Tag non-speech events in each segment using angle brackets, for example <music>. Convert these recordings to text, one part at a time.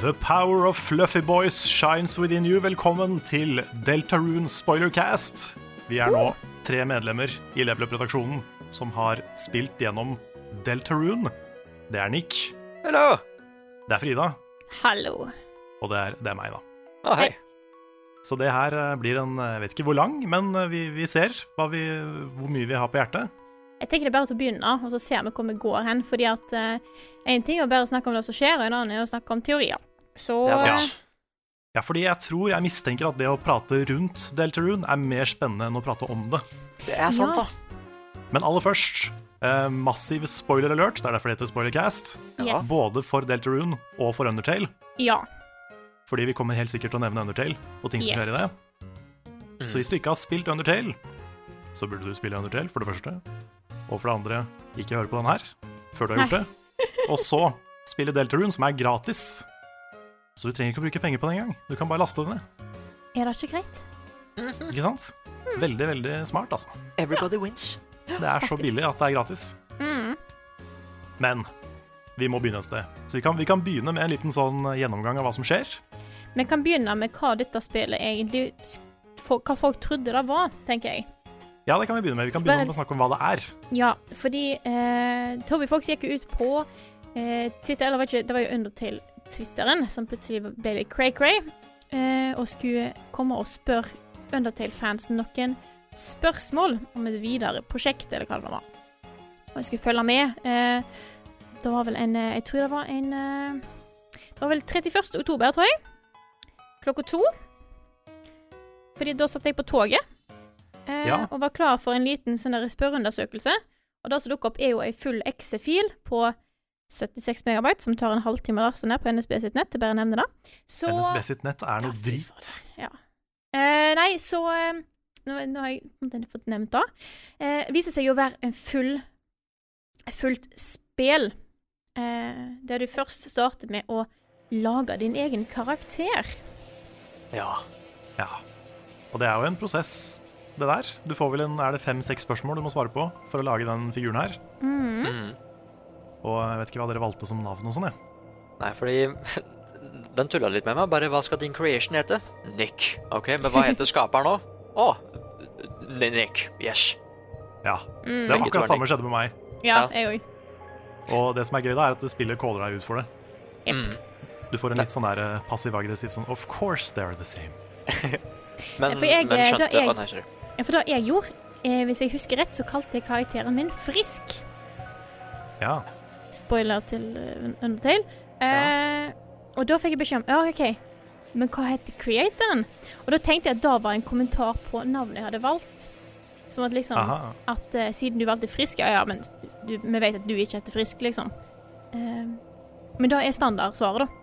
The power of fluffy boys shines within you. Velkommen til Deltaroon Spoilercast. Vi er nå tre medlemmer i Levelup-redaksjonen som har spilt gjennom Deltaroon. Det er Nick, Hallo. det er Frida, Hallo. og det er, det er meg, da. Å, hei. Så det her eh, blir en Jeg vet ikke hvor lang, men eh, vi, vi ser hva vi, hvor mye vi har på hjertet. Jeg tenker det er bare til å begynne, og så ser vi hvor vi går hen. Fordi at én ting er å bare snakke om det som skjer, og en annen er å snakke om teorier. Så eh, Det er Ja. sant. ja, fordi jeg tror jeg mistenker at det å prate rundt Deltaroon er mer spennende enn å prate om det. Det er sant, Ja. da. Men aller først, eh, massiv spoiler alert. Det er derfor det heter Spoilercast. yes. Både for Deltarune og for Undertale. Ja. Fordi vi kommer helt sikkert til å nevne Undertale og ting som Yes. skjer i det. Så hvis du ikke har spilt Undertale, så burde du spille Undertale, for det første. Og for det andre, ikke høre på den her før du har gjort Nei. det. Og så spille Deltarune, som er gratis. Så du trenger ikke å bruke penger på den engang. Du kan bare laste det ned. Er det ikke greit? Ikke sant? Hmm. Veldig, veldig smart, altså. Everybody wins. Det er så billig at det er gratis. Mm. Men vi må begynne et sted. Så vi kan, vi kan begynne med en liten sånn gjennomgang av hva som skjer. Vi kan begynne med hva dette spillet egentlig s- for, Hva folk trodde det var, tenker jeg. Ja, det kan vi begynne med. Vi kan begynne med å snakke om hva det er. Ja, fordi eh, Toby Fox gikk jo ut på eh, Twitter, eller var ikke, det var jo under til Twitteren, som plutselig ble litt cray-cray, eh, og skulle komme og spørre Undertale-fansen noen spørsmål om et videre prosjekt, eller hva det nå var. Og jeg skulle følge med. Eh, det var vel en eh, Jeg tror det var en eh, Det var vel 31. oktober, tror jeg. Klokka to. Fordi da satt jeg på toget eh, Ja. og var klar for en liten sånn der spørreundersøkelse. Og det som dukker opp, er jo ei full Excel-fil på 76 megabyte, som tar en halvtime å laste ned på NSB sitt nett. Jeg bare nevner det. Så NSB sitt nett er Ja, noe fy drit. faen. Ja. Eh, nei, så eh, nå, nå har jeg på en måte fått nevnt det. Eh, viser seg jo å være en full, et fullt spel. Eh, der du først starter med å lage din egen karakter. Ja. Ja. Og det er jo en prosess, det der. Du får vel en, er det fem-seks spørsmål du må svare på for å lage den figuren her. Mm. Mm. Og jeg vet ikke hva dere valgte som navn og sånn, jeg. Nei, fordi <laughs> den tulla litt med meg. Bare hva skal din creation hete? Nick. OK, men hva <laughs> heter skaperen nå? Å, N- Nick. Yes. Ja. Mm. Det var Begge to er akkurat samme skjedde med meg. Ja, Ja. jeg òg. Og det som er gøy, da, er at det spillet caller deg ut for det. Jep. Mm. <laughs> Du får en litt sånn der eh, passiv-aggressiv sånn Of course they are the same. Men, For jeg- eh, men da skjønte jeg- Å, nei, sorry. Ja, for det jeg gjorde, eh, hvis jeg husker rett, så kalte jeg karakteren min Frisk. Ja. Spoiler til eh, Undertale. Eh, Og da fikk jeg beskjed om Ja, OK, men hva heter creatoren? Og da tenkte jeg at da var en kommentar på navnet jeg hadde valgt. Som at liksom Aha. At eh, siden du valgte Frisk Ja, ja, men du, vi vet at du ikke heter Frisk, liksom. Eh, men da er standardsvaret, da.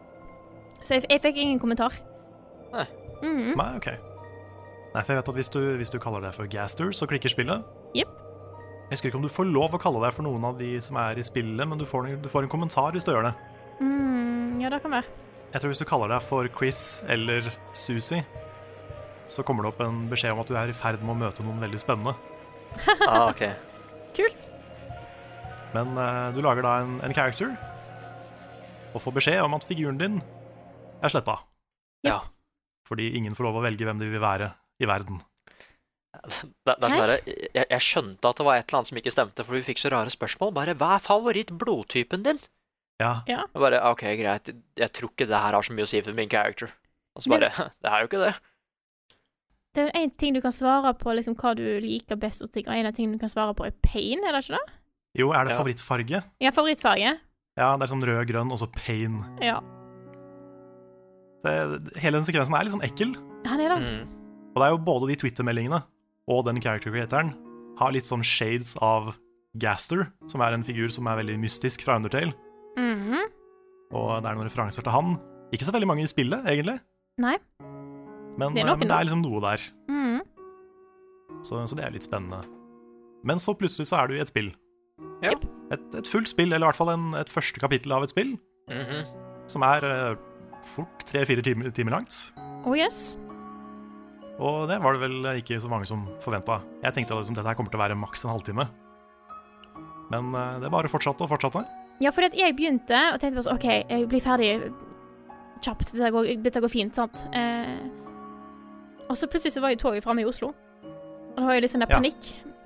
Så jeg, jeg fikk ingen kommentar. Nei. Mhm. Nei, OK. Nei, for jeg vet at hvis du, hvis du kaller deg for Gaster, så klikker spillet. Jep. Jeg husker ikke om du får lov å kalle deg for noen av de som er i spillet, men du får, du får en kommentar hvis du gjør det. Mm, ja, det kan være. Jeg tror hvis du kaller deg for Chris eller Susi, så kommer det opp en beskjed om at du er i ferd med å møte noen veldig spennende. Ah, OK. Kult. Men eh, du lager da en, en character og får beskjed om at figuren din er sletta. Ja. Fordi ingen får lov å velge hvem de vil være i verden. Det, det er sånn derre- jeg, jeg skjønte at det var et eller annet som ikke stemte, for vi fikk så rare spørsmål. Bare hva er favoritt-blodtypen din? Ja, Og bare OK, greit, <laughs> jeg tror ikke det her har så mye å si for min character. Og så bare Det er jo ikke det. Det er én ting du kan svare på, liksom hva du liker best, og ting, og en av tingene du kan svare på, er pain, er det ikke det? Jo, er det Ja. favorittfarge? Ja, favorittfarge. Ja, det er sånn rød, grønn, og så pain. Ja. Det, hele den sekvensen er litt sånn ekkel. Han er da Mm. Og det er jo både de Twitter-meldingene og den character creatoren har litt sånn shades av Gaster, som er en figur som er veldig mystisk fra Undertale, Mhm. og det er noen referanser til han. Ikke så veldig mange i spillet, egentlig, Nei. men det Det er er, nok men det noe. er liksom noe der, Mhm. så, så det er litt spennende. Men så plutselig så er du i et spill. Ja. Et, et fullt spill, eller i hvert fall en, et første kapittel av et spill, Mhm. som er eh, fort tre-fire timer, timer langt. Oh yes. Og det var det vel ikke så mange som forventa. Jeg tenkte at liksom, dette her kommer til å være maks en halvtime. Men eh, det bare fortsatte og fortsatte. Ja, fordi at jeg begynte og tenkte bare sånn OK, jeg blir ferdig kjapt. Dette går, dette går fint, sant? Eh, og så plutselig så var jo toget framme i Oslo. Og da var jeg litt sånn Ja. der panikk.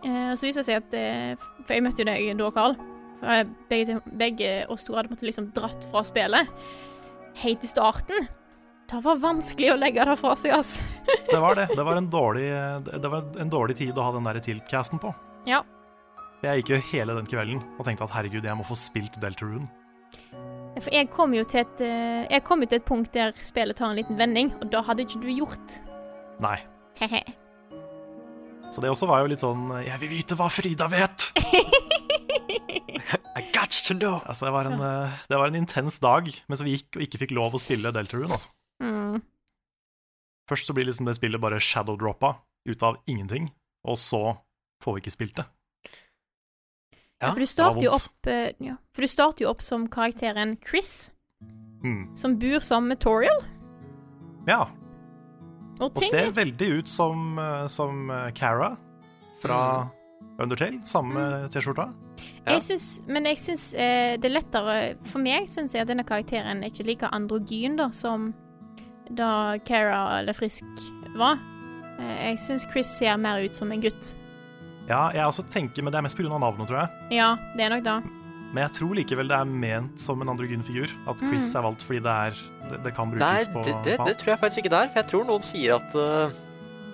Eh, og så viser det seg at eh, For jeg møtte jo deg da, Carl. For jeg, begge, begge oss to hadde måttet liksom dratt fra spillet helt i starten. Det var vanskelig å legge det fra seg, ass. Det var det. Det var en dårlig, eh, det var en dårlig tid å ha den der tiltcasten på. Ja. Jeg gikk jo hele den kvelden og tenkte at herregud, jeg må få spilt Deltarune. For jeg kom jo til et, eh, jeg kom jo til et punkt der spillet tar en liten vending, og da hadde ikke du gjort. Nei. He-he. Så det også var jo litt sånn Jeg vil vite hva Frida vet! I got to know. Altså, det var en, eh, det var en intens dag mens vi gikk og ikke fikk lov å spille Deltarune, altså. Mm. Først så blir liksom det spillet bare shadow-droppa ut av ingenting, og så får vi ikke spilt det. Ja, For du var starter jo vondt. opp eh, ja. For du starter jo opp som karakteren Chris, Mm. som bor sammen med Toriel. Ja, og Og ting ser veldig ut som, eh, som eh, Cara fra Undertale, samme T-skjorta. ja. jeg syns, Men jeg syns eh, det er lettere For meg syns jeg at denne karakteren er ikke like androgyn da som da Cara eller Frisk var. Eh, jeg syns Chris ser mer ut som en gutt. Ja, jeg også tenker, men det er mest pga. navnet, tror jeg. Ja, det er nok da. Men jeg tror likevel det er ment som en androgyn figur. At Chris Mm. er valgt fordi det er Det, det kan brukes Nei, på det, det, på det alt. tror jeg faktisk ikke det er, for jeg tror noen sier at eh,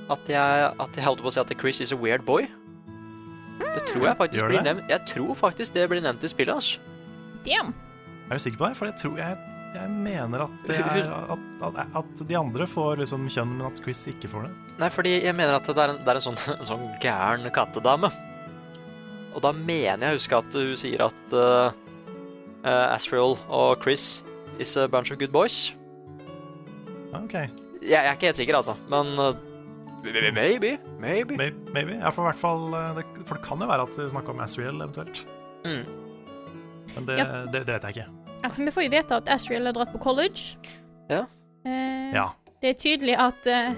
at jeg, at jeg holdt på å si at Chris is a weird boy. Det tror jeg faktisk Gjør blir det? nevnt. Jeg tror faktisk det blir nevnt i spillet, altså. Damn. Er du sikker på det? For jeg tror jeg, jeg mener at det Hun- er at, at, at de andre får liksom kjønn, men at Chris ikke får det. Nei, fordi jeg mener at det er en, det er en, sånn, <laughs> en sånn gæren kattedame. Og da mener jeg å huske at hun sier at uh, Asriel og Chris is a bunch of good boys. Ja, OK. Jeg, jeg er ikke helt sikker, altså, men eh, maybe. Maybe. May- Maybe. Ja, for i hvert fall eh, det, For det kan jo være at du snakker om Asriel, eventuelt. Mm. Men det, Ja. det, det vet jeg ikke. Ja, for vi får jo vite at Asriel har dratt på college. Ja. Eh, Ja. Det er tydelig at eh,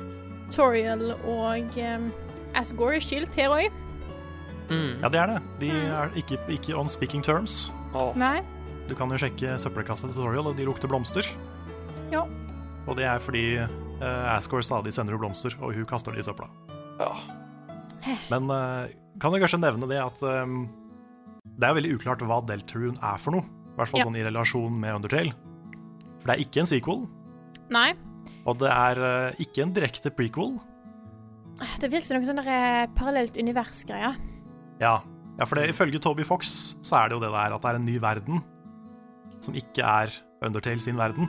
Toriel og um, Asgore er skilt her òg. Mm. Ja, det er det. De er ikke, ikke on speaking terms. Åh. Nei. Du kan jo sjekke søppelkassa til Toriel, og de lukter blomster. Ja. Og det er fordi uh, Asgore stadig sender henne blomster, og hun kaster det i søpla. Åh. Men eh, kan du kanskje nevne det at ehm, det er jo veldig uklart hva Deltarune er for noe. I hvert fall Ja. sånn i relasjon med Undertale. For det er ikke en sequel, Nei. og det er eh, ikke en direkte prequel. Det virker som noe sånn der, eh, parallelt univers-greie. Ja, ja for det, ifølge Toby Fox så er det jo det der at det er en ny verden som ikke er Undertale sin verden.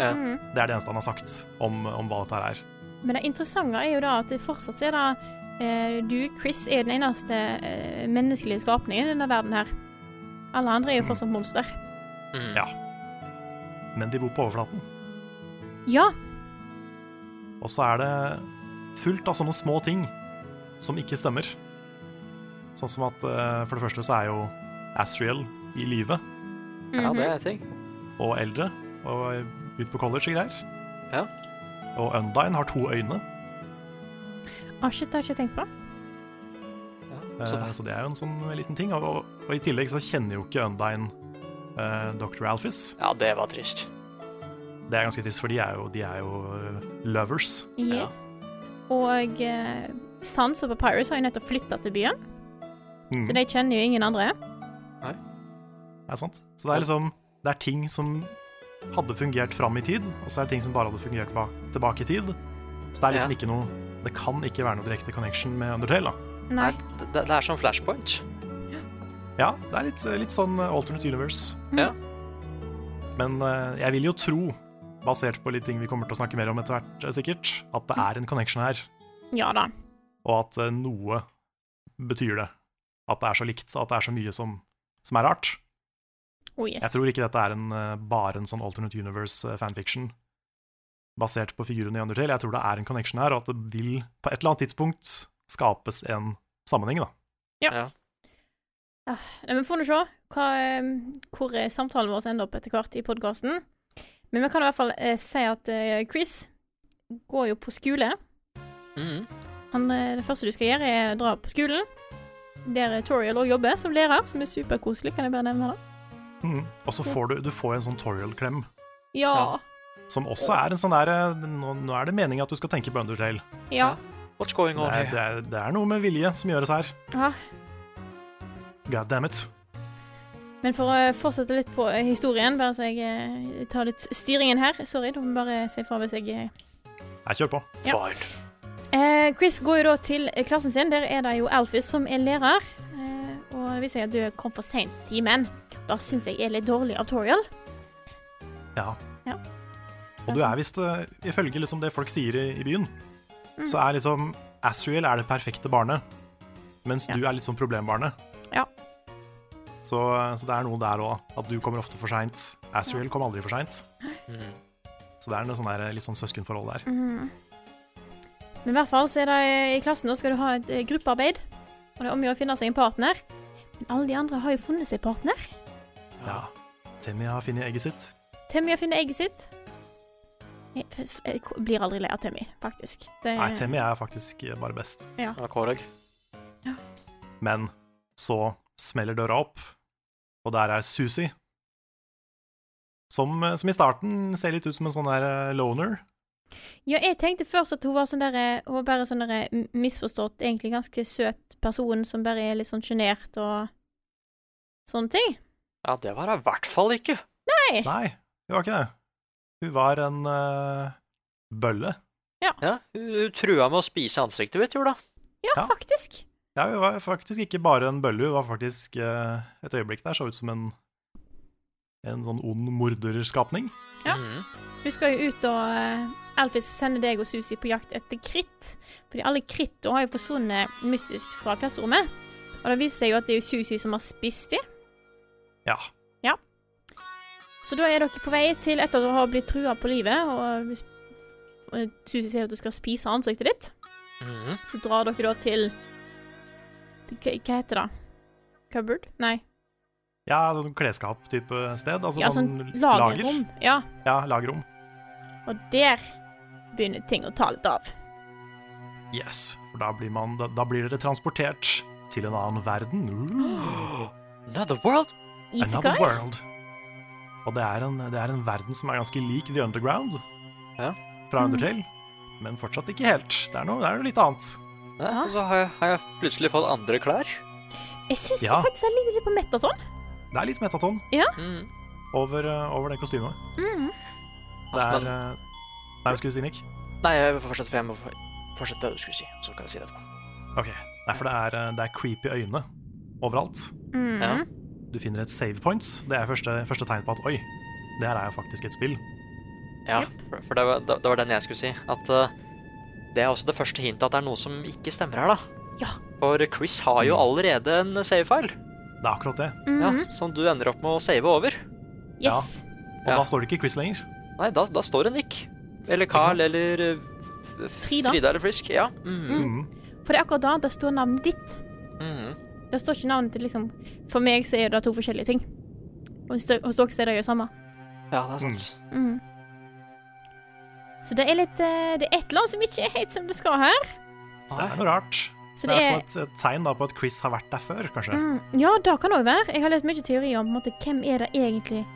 Ja. Mm. Det er det eneste han har sagt om, om hva dette her er. Men det interessante er jo da at det fortsatt så er det eh, Du, Chris, er den eneste eh, menneskelige skapningen i denne verden her. Alle andre er jo fortsatt monster. Mm. Ja. Men de bor på overflaten. Ja. Og så er det fullt av sånne små ting som ikke stemmer. Sånn som at eh, for det første så er jo Asriel i live ja, Mhm. det er en ting. og eldre og ut på college og greier. Ja. Og Undine har to øyne, Ah, shit, det har jeg ikke tenkt på. eh, Ja. Så, så, det er jo en sånn liten ting. Og, og, og i tillegg så kjenner jo ikke Undine eh, Dr. Alphys. ja, det var trist. Det er ganske trist, for de er jo, de er jo eh, lovers. Ja. Yes. Og eh, Sans og Papyrus har jo nettopp flytta til byen, Mm. så de kjenner jo ingen andre. Er sant? Så det er liksom Det er ting som hadde fungert fram i tid, og så er det ting som bare hadde fungert bak, tilbake i tid. Så det er liksom Ja. ikke noe det kan ikke være noe direkte connection med Undertale. da. Nei. Det, det det er sånn flashpoint. Ja, det er litt, litt sånn alternate universe. Ja. Men eh, jeg vil jo tro, basert på litt ting vi kommer til å snakke mer om etter hvert, eh, sikkert, at det er en connection her, Ja da. og at eh, noe betyr det. At det er så likt, at det er så mye som, som er rart. Oh yes. Jeg tror ikke dette er en, eh, bare en sånn alternate universe eh, fanfiction basert på figurene i Undertale. Jeg tror det er en connection her, og at det vil på et eller annet tidspunkt skapes en sammenheng, da. Nei, men får nå se hva, eh, hvor eh, samtalen vår ender opp etter hvert i podkasten. Men vi kan i hvert fall eh, si at eh, Chris går jo på skole. Mhm. Han, eh, det første du skal gjøre, er å dra på skolen. Der eh, Toriel òg jobber som lærer, som er superkoselig, kan jeg bare nevne det. Mhm. Og så får du, du får en sånn Toriel-klem. Ja. Som også er en sånn der eh, Nå, nå er det meningen at du skal tenke på Undertale. Ja. What's going Så on det, er, here? det, er, det er noe med vilje som gjøres her. ja. God damn it. Men for å fortsette litt på eh, historien, bare så jeg eh, tar litt styringen her Sorry, du må bare si fra hvis jeg eh, Jeg kjører på. Ja. Fine. Eh, Chris går jo da til eh, klassen sin. Der er det jo Alfis som er lærer. Eh, og det viser seg at du kom for seint til timen. Da syns jeg er litt dårlig av Toriel. Ja. Ja. Og du er visst, eh, ifølge liksom det folk sier i, i byen, så Mm. er liksom Asriel er det perfekte barnet, mens Ja. du er litt sånn problembarnet. Ja. Så, så det er noe der òg, at du kommer ofte for seint. Asriel kom aldri for seint. Mhm. Så det er noe sånn der, litt sånn søskenforhold der. Mhm. Men i hvert fall så er det eh, i klassen da skal du ha et eh, gruppearbeid. Og det er om å gjøre å finne seg en partner. Men alle de andre har jo funnet seg partner. Ja. Temmy har funnet egget sitt. Temmy har funnet egget sitt. Jeg, f- jeg k- blir aldri lei av Temmy, faktisk. Det, Nei, Temmy er faktisk eh, bare best. Ja, Korag. Men så smeller døra opp, og der er Susi. Som, eh, som i starten ser litt ut som en sånn der eh, loner. Ja, jeg tenkte først at hun var sånn der eh, Hun var bare sånn der eh, m- misforstått, egentlig ganske søt person som bare er litt sånn sjenert og sånne ting. Ja, det var hun i hvert fall ikke. Nei, hun var ikke det. Hun var en eh, bølle. Ja, hun, hun trua med å spise ansiktet mitt, gjorde hun. Ja, Ja. faktisk. Ja, hun var faktisk ikke bare en bølle, hun var faktisk eh, et øyeblikk der så ut som en, en sånn ond morderskapning. Ja. Mhm. Du skal jo ut og eh, Alfis sender deg og Susi på jakt etter kritt. Fordi alle kritt har jo forsvunnet mystisk fra klasserommet. Og det viser seg jo at det er jo Susi som har spist dem. Ja. Så da er dere på vei til etter at du har blitt trua på livet, og hvis- og Susi sier at du skal spise ansiktet ditt. Mhm. Så drar dere da til til Hva hva heter det? Cupboard? Nei. Ja, sånn klesskap-type sted. Altså Ja, sånn sånn lagerrom. Ja. Lager. Ja, lagerrom. Og der begynner ting å ta litt av. Yes, for da blir, man, da, da blir dere transportert til en annen <gasps> verden. Ooh, Another world? another Isekai? world. Og det er, en, det er en verden som er ganske lik The Underground Ja. fra Mm. Undertale, men fortsatt ikke helt. Det er noe, det er noe litt annet. Ja, og så har jeg, har jeg plutselig fått andre klær. Jeg syns Ja. faktisk jeg ligner litt på sånn. Metaton. Det er litt metaton Mhm. over, eh, over det kostymet. Mm, Det Ah, er men- eh, Nei, skulle du si Nick? Nei, jeg får fortsette, for jeg må for- fortsette det du skulle si. Så kan jeg si det etterpå. Ok. Nei, for det er, eh, det er creepy øyne overalt. Mhm. Ja. Du finner et save points. Det er første, første tegn på at oi, det her er jo faktisk et spill. Ja, for- for det var, det, det var den jeg skulle si. At eh, det er også det første hintet at det er noe som ikke stemmer her, da. Ja. For Chris har Mm. jo allerede en savefile, Det er akkurat det. ja, som du ender opp med å save over. mm. Yes. Og Ja. da står det ikke Chris lenger. Nei, da, da står det Nick. Eller Carl, sant? eller eh, F- Frida. Frida eller Frisk. Ja. Mm. Mhm. For det er akkurat da det står navnet ditt. Mhm. Det står ikke navnet til liksom For meg så er det to forskjellige ting. Og hos hos dere så er det jo samme. Ja, det er sant. Mm. Mhm. Så det er litt eh, Det er et eller annet som ikke er helt som det skal her. Det er noe rart. Så det det er i er hvert fall et et tegn da på at Chris har vært der før, kanskje. Mm, ja, det kan det òg være. Jeg har lest mye teori om på en måte, hvem er det egentlig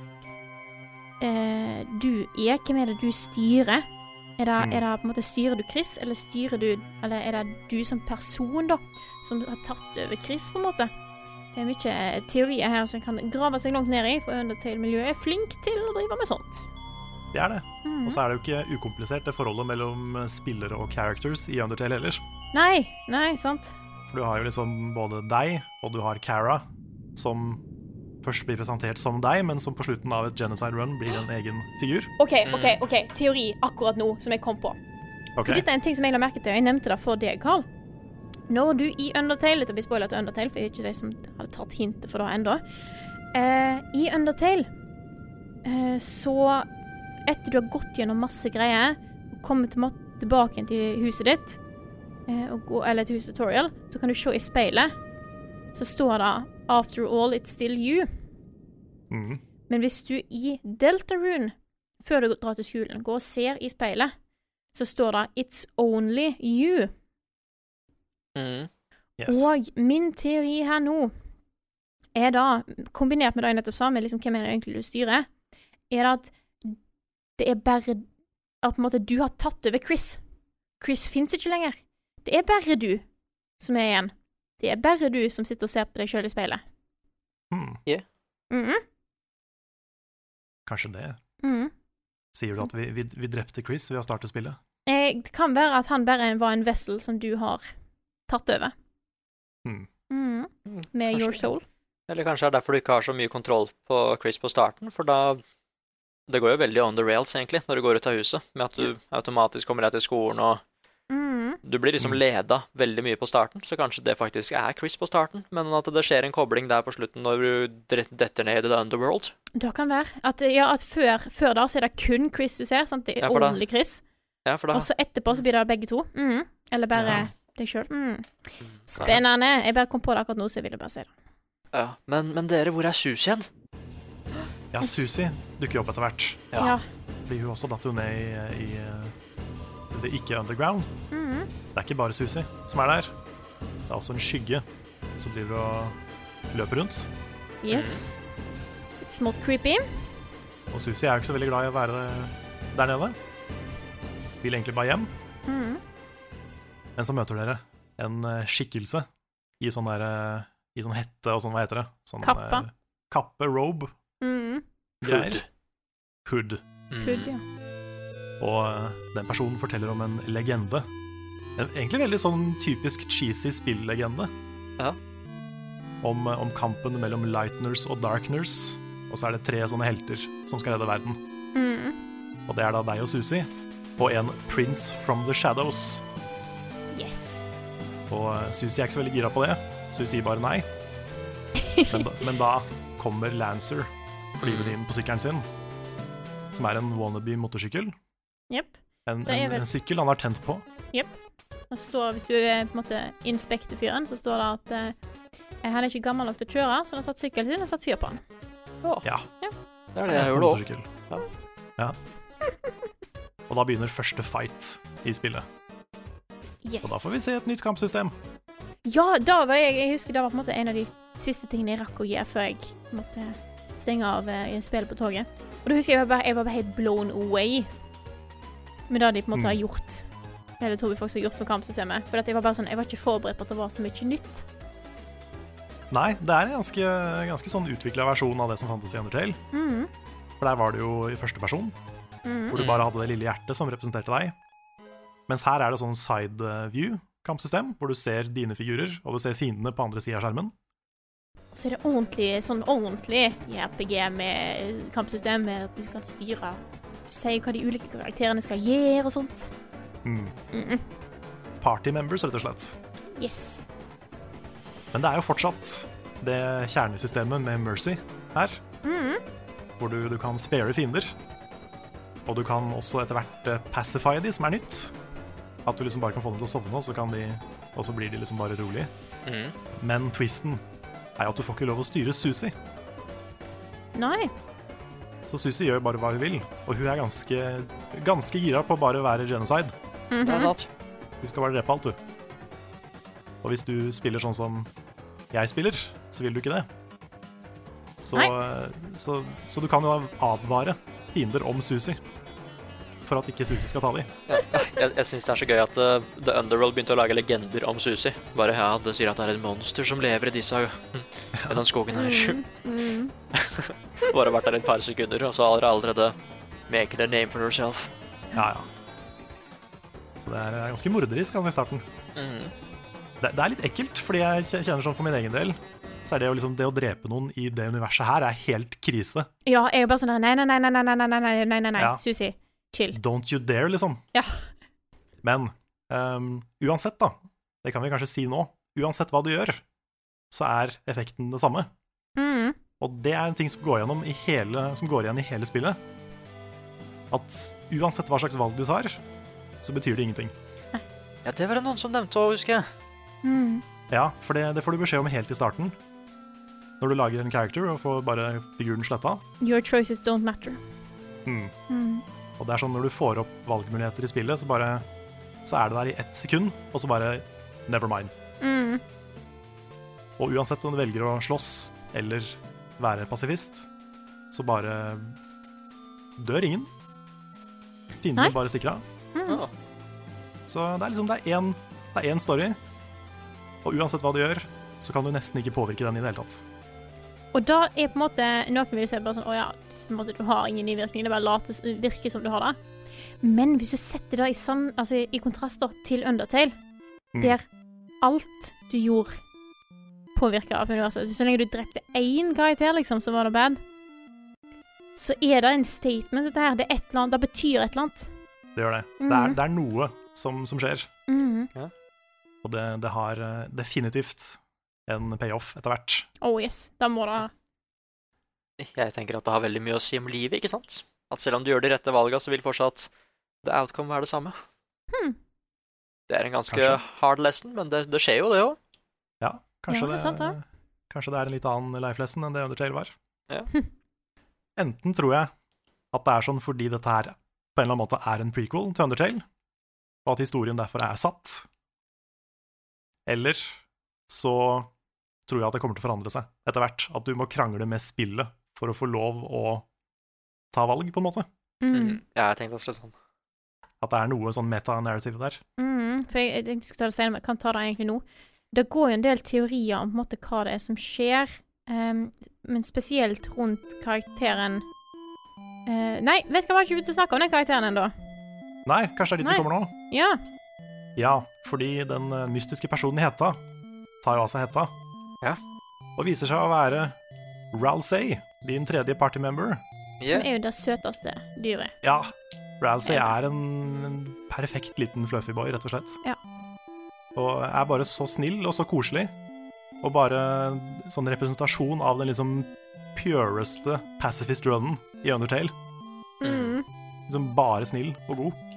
eh, du er. Hvem er det du styrer? Er det, Mm. er det på en måte Styrer du Chris, eller styrer du Eller er det du som person, da, som har tatt over Chris, på en måte? Det er mye eh, teorier her som kan grave seg langt ned i, for Undertale-miljøet er flink til å drive med sånt. Det er det. Mhm. Og så er det jo ikke ukomplisert, det forholdet mellom spillere og characters i Undertale ellers. Mm. Nei, nei, sant. For du har jo liksom både deg, og du har Cara, som først blir presentert som deg, men som på slutten av et genocide run blir en egen figur. OK, ok, Mm. ok, teori akkurat nå som jeg kom på. Ok, For dette er en ting som jeg la merke til, og jeg nevnte det for deg, Carl. Når du i Undertale Dette blir spoiler til Undertale, for det er ikke de som hadde tatt hintet for det ennå. Eh, I Undertale eh, så Etter du har gått gjennom masse greier, og kommet til- tilbake igjen til huset ditt, eh, og gå, eller et hustutorial, så kan du se i speilet, så står det 'After all, it's still you'. Mhm. Men hvis du i Deltarune, før du drar til skolen, går og ser i speilet, så står det 'It's only you'. Mhm. Yes. Og min teori her nå er da, kombinert med det jeg nettopp sa, med liksom, hvem er det egentlig du styrer, er det at det er bare at på en måte du har tatt over Chris. Chris fins ikke lenger. Det er bare du som er igjen. Det er bare du som sitter og ser på deg sjøl i speilet. Hmm, Mhm, kanskje det. mhm. Sier du at vi, vi, vi drepte Chris ved å starte spillet? Eh, Det kan være at han bare var en vessel som du har tatt over. Hmm. Mhm. Mm, Med kanskje. your soul. Eller kanskje det er derfor du ikke har så mye kontroll på Chris på starten, for da Det går jo veldig on the rails, egentlig, når du går ut av huset, med at du automatisk kommer deg til skolen og Mhm. Du blir liksom Mm. leda veldig mye på starten, så kanskje det faktisk er Chris på starten, men at det skjer en kobling der på slutten når du dre- detter ned i the underworld. Det kan være. At, ja, at før, før da så er det kun Chris du ser. Sant? Det er Ja, for da- ordentlig Chris. Ja, for da Og så etterpå så blir det begge to. Mhm. Eller bare Ja. deg sjøl. Mm. Spennende. Jeg bare kom på det akkurat nå, så jeg ville bare si det. Ja, men, men dere, hvor er Susi hen? Ja, Susi dukker jo opp etter hvert. Ja. Ja. Blir hun også datt jo ned i, i eh, det ikke underground. Mhm. Det er ikke bare Susi som er der. Det er også en skygge som driver og løper rundt. Yes. Litt smått creepy. Og Susi er jo ikke så veldig glad i å være der nede. Vil egentlig bare hjem. Mhm. Men så møter dere en eh, skikkelse i sånn der eh, I sånn hette og sånn, hva heter det? Sånn, Kappa. eh, Kappe, robe, Mhm. greier. Hood. Mm. Hood, ja. Og eh, den personen forteller om en legende. En egentlig veldig sånn typisk cheesy spillegende. Ja. Om, eh, om kampen mellom Lightners og Darkners. Og så er det tre sånne helter som skal redde verden. Mhm. Og det er da deg og Susi. Og en Prince from the Shadows. Yes. Og eh, Susi er ikke så veldig gira på det, så hun sier bare nei. Men da, men da kommer Lancer flyvende inn på sykkelen sin, som er en wannabe motorsykkel. Jepp. En, Det er en, vel- en sykkel han har tent på. Det står, hvis du eh, på en måte inspekter fyren, så står det at eh, han er ikke gammel nok til å kjøre, så han har tatt sykkelen sin og satt fyr på han. Ja, Det er så det jeg nesten gjorde òg. motorsykkel. Ja. Og da begynner første fight i spillet. Yes. Og da får vi se et nytt kampsystem. Ja, da var jeg, jeg husker det var på en måte en av de siste tingene jeg rakk å gjøre før jeg måtte stenge av eh, spillet på toget. Og da husker jeg jeg var bare, jeg var bare helt blown away med det de Mm. på en måte har gjort. Eller tror vi faktisk har gjort med kampsystemet. For at jeg var bare sånn, jeg var ikke forberedt på at det var så mye nytt. Nei, det er en ganske, ganske sånn utvikla versjon av det som fantes i Undertale. Mhm. For der var det jo i første person, Mhm. hvor du bare hadde det lille hjertet som representerte deg. Mens her er det sånn side view-kampsystem, hvor du ser dine figurer, og du ser fiendene på andre sida av skjermen. Så er det ordentlig, sånn ordentlig i RPG med kampsystem, med at du kan styre, si hva de ulike karakterene skal gjøre og sånt. Mhm. Mm. Party members, rett og slett. Yes. Men det er jo fortsatt det kjernesystemet med Mercy her, hvor du, du kan spare fiender. Og du kan også etter hvert eh, pacify de, som er nytt. At du liksom bare kan få dem til å sovne, og så, kan de, og så blir de liksom bare rolige. Mhm. Men twisten er jo at du får ikke lov å styre Susi. Nei. Så Susi gjør bare hva hun vil, og hun er ganske, ganske gira på bare å være genocide. Det er sant. Hun skal bare drepe alt, du. Og hvis du spiller sånn som jeg spiller, så vil du ikke det. Så, eh, så, så du kan jo advare fiender om Susi, for at ikke Susi skal ta de. Jeg, jeg syns det er så gøy at eh, The Underworld begynte å lage legender om Susi. Bare ja, det sier at det er et monster som lever i disse I <laughs> den skogen her. Mhm. Bare vært der et par sekunder, og så har dere allerede Making a name for herself. Ja, ja. Så det er eh, ganske morderisk, kan jeg si i starten. Mhm. Det, det er litt ekkelt, fordi jeg kje- kjenner sånn for min egen del. Så er det, jo liksom, det å drepe noen i det universet her er helt krise. Ja, jeg er bare sånn der, Nei, nei, nei, nei, nei, nei, nei, nei, nei, nei, nei. Ja. Susi, chill. Don't you dare, liksom. Ja. Men ehm, uansett, da, det kan vi kanskje si nå, uansett hva du gjør, så er effekten det samme. Mm. Og det er en ting som går, gjennom i hele, som går igjen i hele spillet. At uansett hva slags valg du tar, så betyr det ingenting. Ja, det var det noen som nevnte òg, husker jeg. Mm. Ja, for det, det får du beskjed om helt i starten. Når du lager en character og får bare figuren sletta. Your choices don't matter. Mm. Mm. Og det er sånn når du får opp valgmuligheter i spillet, så bare Så er det der i ett sekund, og så bare Never mind. Mm. Og uansett om du velger å slåss eller være pasifist, så bare dør ingen. Nei. Fiendene bare stikker av. Ja. Så det er liksom det er én, det er én story, og uansett hva du gjør, så kan du nesten ikke påvirke den i det hele tatt. Og da er på en måte Noen vil se bare sånn Å ja, på en måte, du har ingen ny virkning. Det bare lates, virker som du har det. Men hvis du setter det i, sam, altså, i kontrast da, til Undertale, Mm. der alt du gjorde, påvirka av universet Så lenge du drepte én karakter, liksom, så var det bad. Så er det en statement, dette her. Det, er et eller annet, det betyr et eller annet. Det gjør det. Det, Mhm. er, det er noe som, som skjer, Mhm. og det, det har eh, definitivt en payoff etter hvert. Oh yes. Da må det Jeg tenker at det har veldig mye å si om livet, ikke sant? At selv om du gjør de rette valga, så vil fortsatt the outcome være det samme. hmm. Det er en ganske Kanskje. hard lesson, men det, det skjer jo, det òg. Kanskje, Ja, det er sant, ja. kanskje det er en litt annen life lesson enn det Undertale var. <laughs> Ja. Hm. Enten tror jeg at det er sånn fordi dette her på en eller annen måte er en prequel til Undertale, og at historien derfor er satt. Eller så tror jeg at det kommer til å forandre seg etter hvert. At du må krangle med spillet for å få lov å ta valg, på en måte. Mm. Ja, jeg tenkte også litt sånn. At det er noe sånn meta-narrative der. Mm, for jeg, jeg tenkte jeg skulle ta det senere, men jeg kan ta det egentlig nå. Det går jo en del teorier om på en måte hva det er som skjer, ehm, men spesielt rundt karakteren eh, Nei, vet du hva, jeg har ikke begynt å snakke om den karakteren ennå. Nei, kanskje det er dit Nei. vi kommer nå? Ja. Ja, fordi den eh, mystiske personen i hetta tar jo av seg hetta. Ja. Og viser seg å være Ralsei, din tredje partymember. Som Yeah. er jo det søteste dyret. Ja, Ralsei Ja. er en, en perfekt liten fluffy boy, rett og slett. Ja. Og er bare så snill og så koselig. Og bare sånn representasjon av den liksom pureste pacifist runnen i Undertale. Mm. Liksom bare snill og god.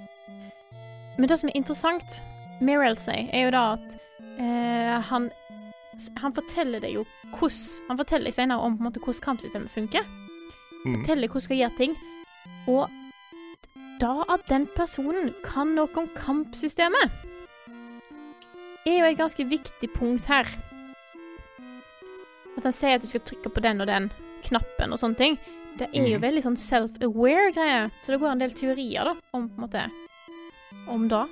Men det som er interessant med Relsey, er jo da at eh, han han forteller deg jo hvordan Han forteller deg senere om på en måte hvordan kampsystemet funker. Mm. fortelle hvordan skal gjøre ting. Og da at den personen kan noe om kampsystemet, er jo et ganske viktig punkt her. At han sier at du skal trykke på den og den knappen og sånne ting. Det er jo Mhm. veldig sånn self-aware greier. Så det går en del teorier da, om på en måte om da.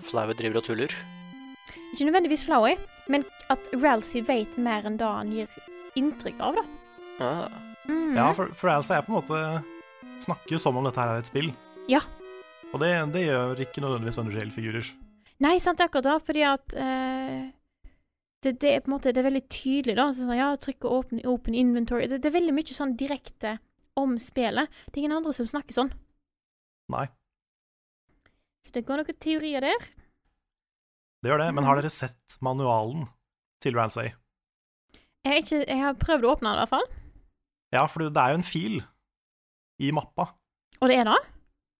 Flaue Mm. driver og tuller. Ikke nødvendigvis Flowey, men at Ralsey vet mer enn det han gir inntrykk av, da. Ja. Mhm. Ja, for, for Alice er på en måte snakker jo som om dette her er et spill. Ja. Og det, det gjør ikke nødvendigvis Undertale-figurer. Nei, sant, det er akkurat da, fordi at eh, det, det er på en måte det er veldig tydelig, da. så Sånn, ja, trykk og åpne open inventory. Det, det er veldig mye sånn direkte om spillet. Det er ingen andre som snakker sånn. Nei. Så det går noen teorier der. Det gjør det, men Mm. har dere sett manualen til Ransay? Jeg, er ikke, jeg har prøvd å åpne den i hvert fall, Ja, for det er jo en fil i mappa og det er det.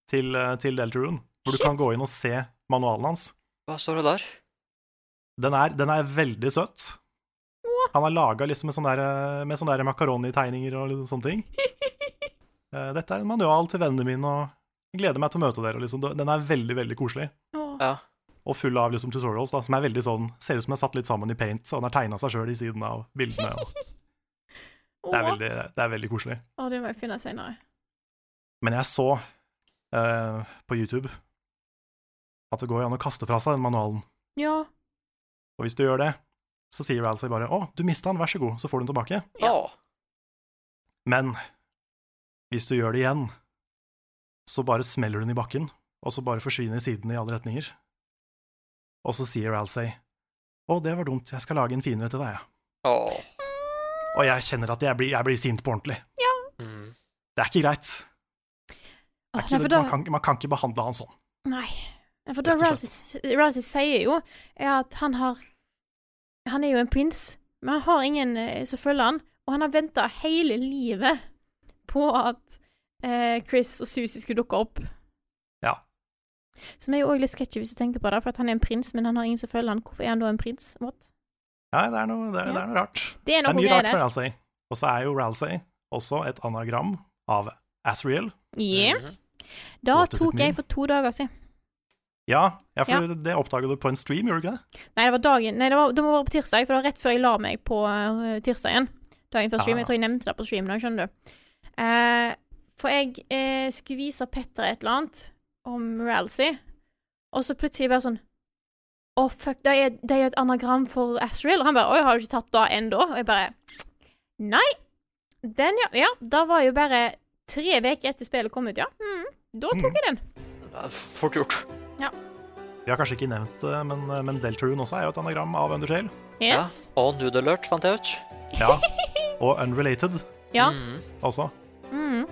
til, eh, til Deltarune, hvor Shit. du kan gå inn og se manualen hans. Hva står det der? Den er, den er veldig søt. Han har laga liksom med sånne, der, med sånne der makaronitegninger og litt sånne <laughs> ting. Eh, Dette er en manual til vennene mine, og jeg gleder meg til å møte dere. og Liksom. Den er veldig, veldig koselig. <laughs> Åh. Ja. og full av liksom tutorials, da, som er veldig sånn Ser ut som den er satt litt sammen i paint, og den har tegna seg sjøl i siden av bildene. Og det, er Åh. veldig, det er veldig koselig. Åh, det må jeg finne senere. Men jeg så eh, på YouTube at det går jo an å kaste fra seg den manualen, Ja. og hvis du gjør det, så sier Ralsei bare 'Å, du mista den, vær så god', så får du den tilbake. Ja. Men hvis du gjør det igjen, så bare smeller hun i bakken, og så bare forsvinner sidene i alle retninger. Og så sier Ralsei, å, det var dumt, jeg skal lage en finere til deg, jeg. Åh. Og jeg kjenner at jeg blir, jeg blir sint på ordentlig. Mm. Det er ikke greit. Det er Åh, nei, ikke, for da, man, kan, ikke- man kan ikke behandle han sånn. nei. Nei, For da Rett og Ralsei Ralsei sier jo er at han har Han er jo en prins, men han har ingen eh, som følger han, og han har venta hele livet på at eh, Chris og Susie skulle dukke opp. Ja. Som er jo òg litt sketchy, hvis du tenker på det, for at han er en prins, men han har ingen som følger han. Hvorfor er han da en prins? What? Nei, det er noe, det er, Ja. det er noe rart. Det er Det er noe mye greier rart med der. Ralsei. Og så er jo Ralsei også et anagram av Asriel. Ja. Mm. Mhm. Da What does it tok mean? jeg for to dager siden. Ja, ja for det oppdaga du på en stream, gjorde du ikke det? Nei, det var dagen Nei, det, var, det må være på tirsdag, for det var rett før jeg la meg på eh, tirsdagen. Dagen før stream. Ah. Jeg tror jeg nevnte det på streamen òg, skjønner du. Eh, for jeg eh, skulle vise Petter et eller annet om Ralsei, og så plutselig bare sånn Å, fuck, det er, det er jo et anagram for Asriel. Og han bare Oi, har du ikke tatt det ennå? Og jeg bare Nei. Den, ja. ja. Da var jo bare tre uker etter spillet kom ut, ja. Mm, da tok jeg den. Ja, f- Fort gjort. Vi har kanskje ikke nevnt det, men, men Deltarune også er jo et anagram av Undertale. Yes. Ja. Og Noodle Alert, fant jeg ut. Ja. <laughs> Og Unrelated Ja. Mm. også. Mm.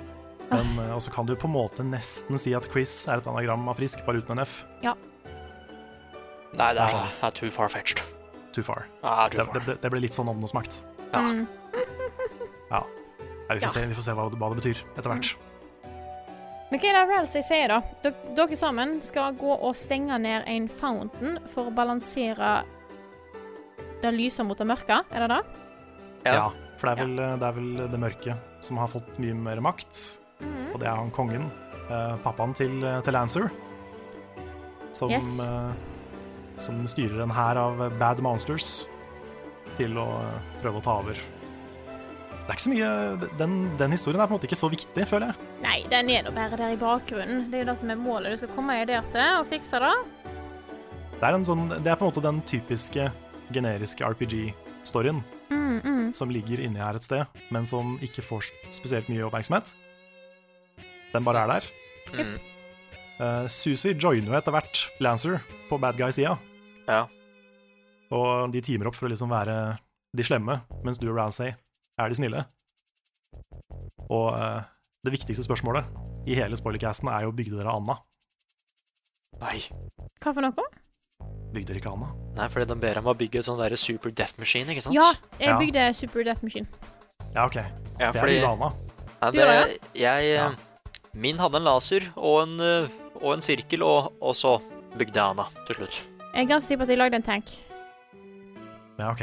Men, eh, og så kan du på en måte nesten si at Chris er et anagram av Frisk, bare uten en F. Nei, det er, det er too far-fetched. Too far. Ja, det Det, er too det, far. ble- det ble litt sånn åndenes makt. Ja. Mm. Ja. Nei, vi, får Ja. se, vi får se hva, det- hva det betyr etter hvert. Men hva er det Ralsei sier, da? Dere, dere sammen skal gå og stenge ned en fountain for å balansere det lyse mot det mørke, er det det? Ja. Ja, for det er, vel, eh, det er vel det mørke som har fått mye mer makt, og det er han kongen, eh, pappaen til, til Lancer, som, Yes. eh, som styrer en hær av bad monsters til å eh, prøve å ta over. Det er ikke så mye, den, den historien er på en måte ikke så viktig, føler jeg. Nei, den er nå bare der i bakgrunnen. Det er jo det som er målet. Du skal komme deg der til og fikse det. Det er, en sånn, det er på en måte den typiske, generiske RPG-storyen Mm, mm. som ligger inni her et sted, men som ikke får spesielt mye oppmerksomhet. Den bare er der. Mm. Eh, Susi joiner jo etter hvert Lancer på bad guy-sida. Ja. Og de teamer opp for å liksom være de slemme, mens du og Ransay er de snille. Og eh, det viktigste spørsmålet i hele spoilercasten er jo bygde dere Anna? Nei. Hva for noe? Bygde dere ikke Anna? Nei, fordi de ber om å bygge et sånn derre super death machine, ikke sant? Ja, jeg Ja. bygde Super Death Machine. Ja, OK. ja Det er fordi lille Anna. Nei, Du gjør det, jeg eh, Ja. Min hadde en laser og en, eh, og en sirkel, og, og så bygde jeg Anna til slutt. Jeg er ganske sikker på at jeg lagde en tank-greie. Ja, OK.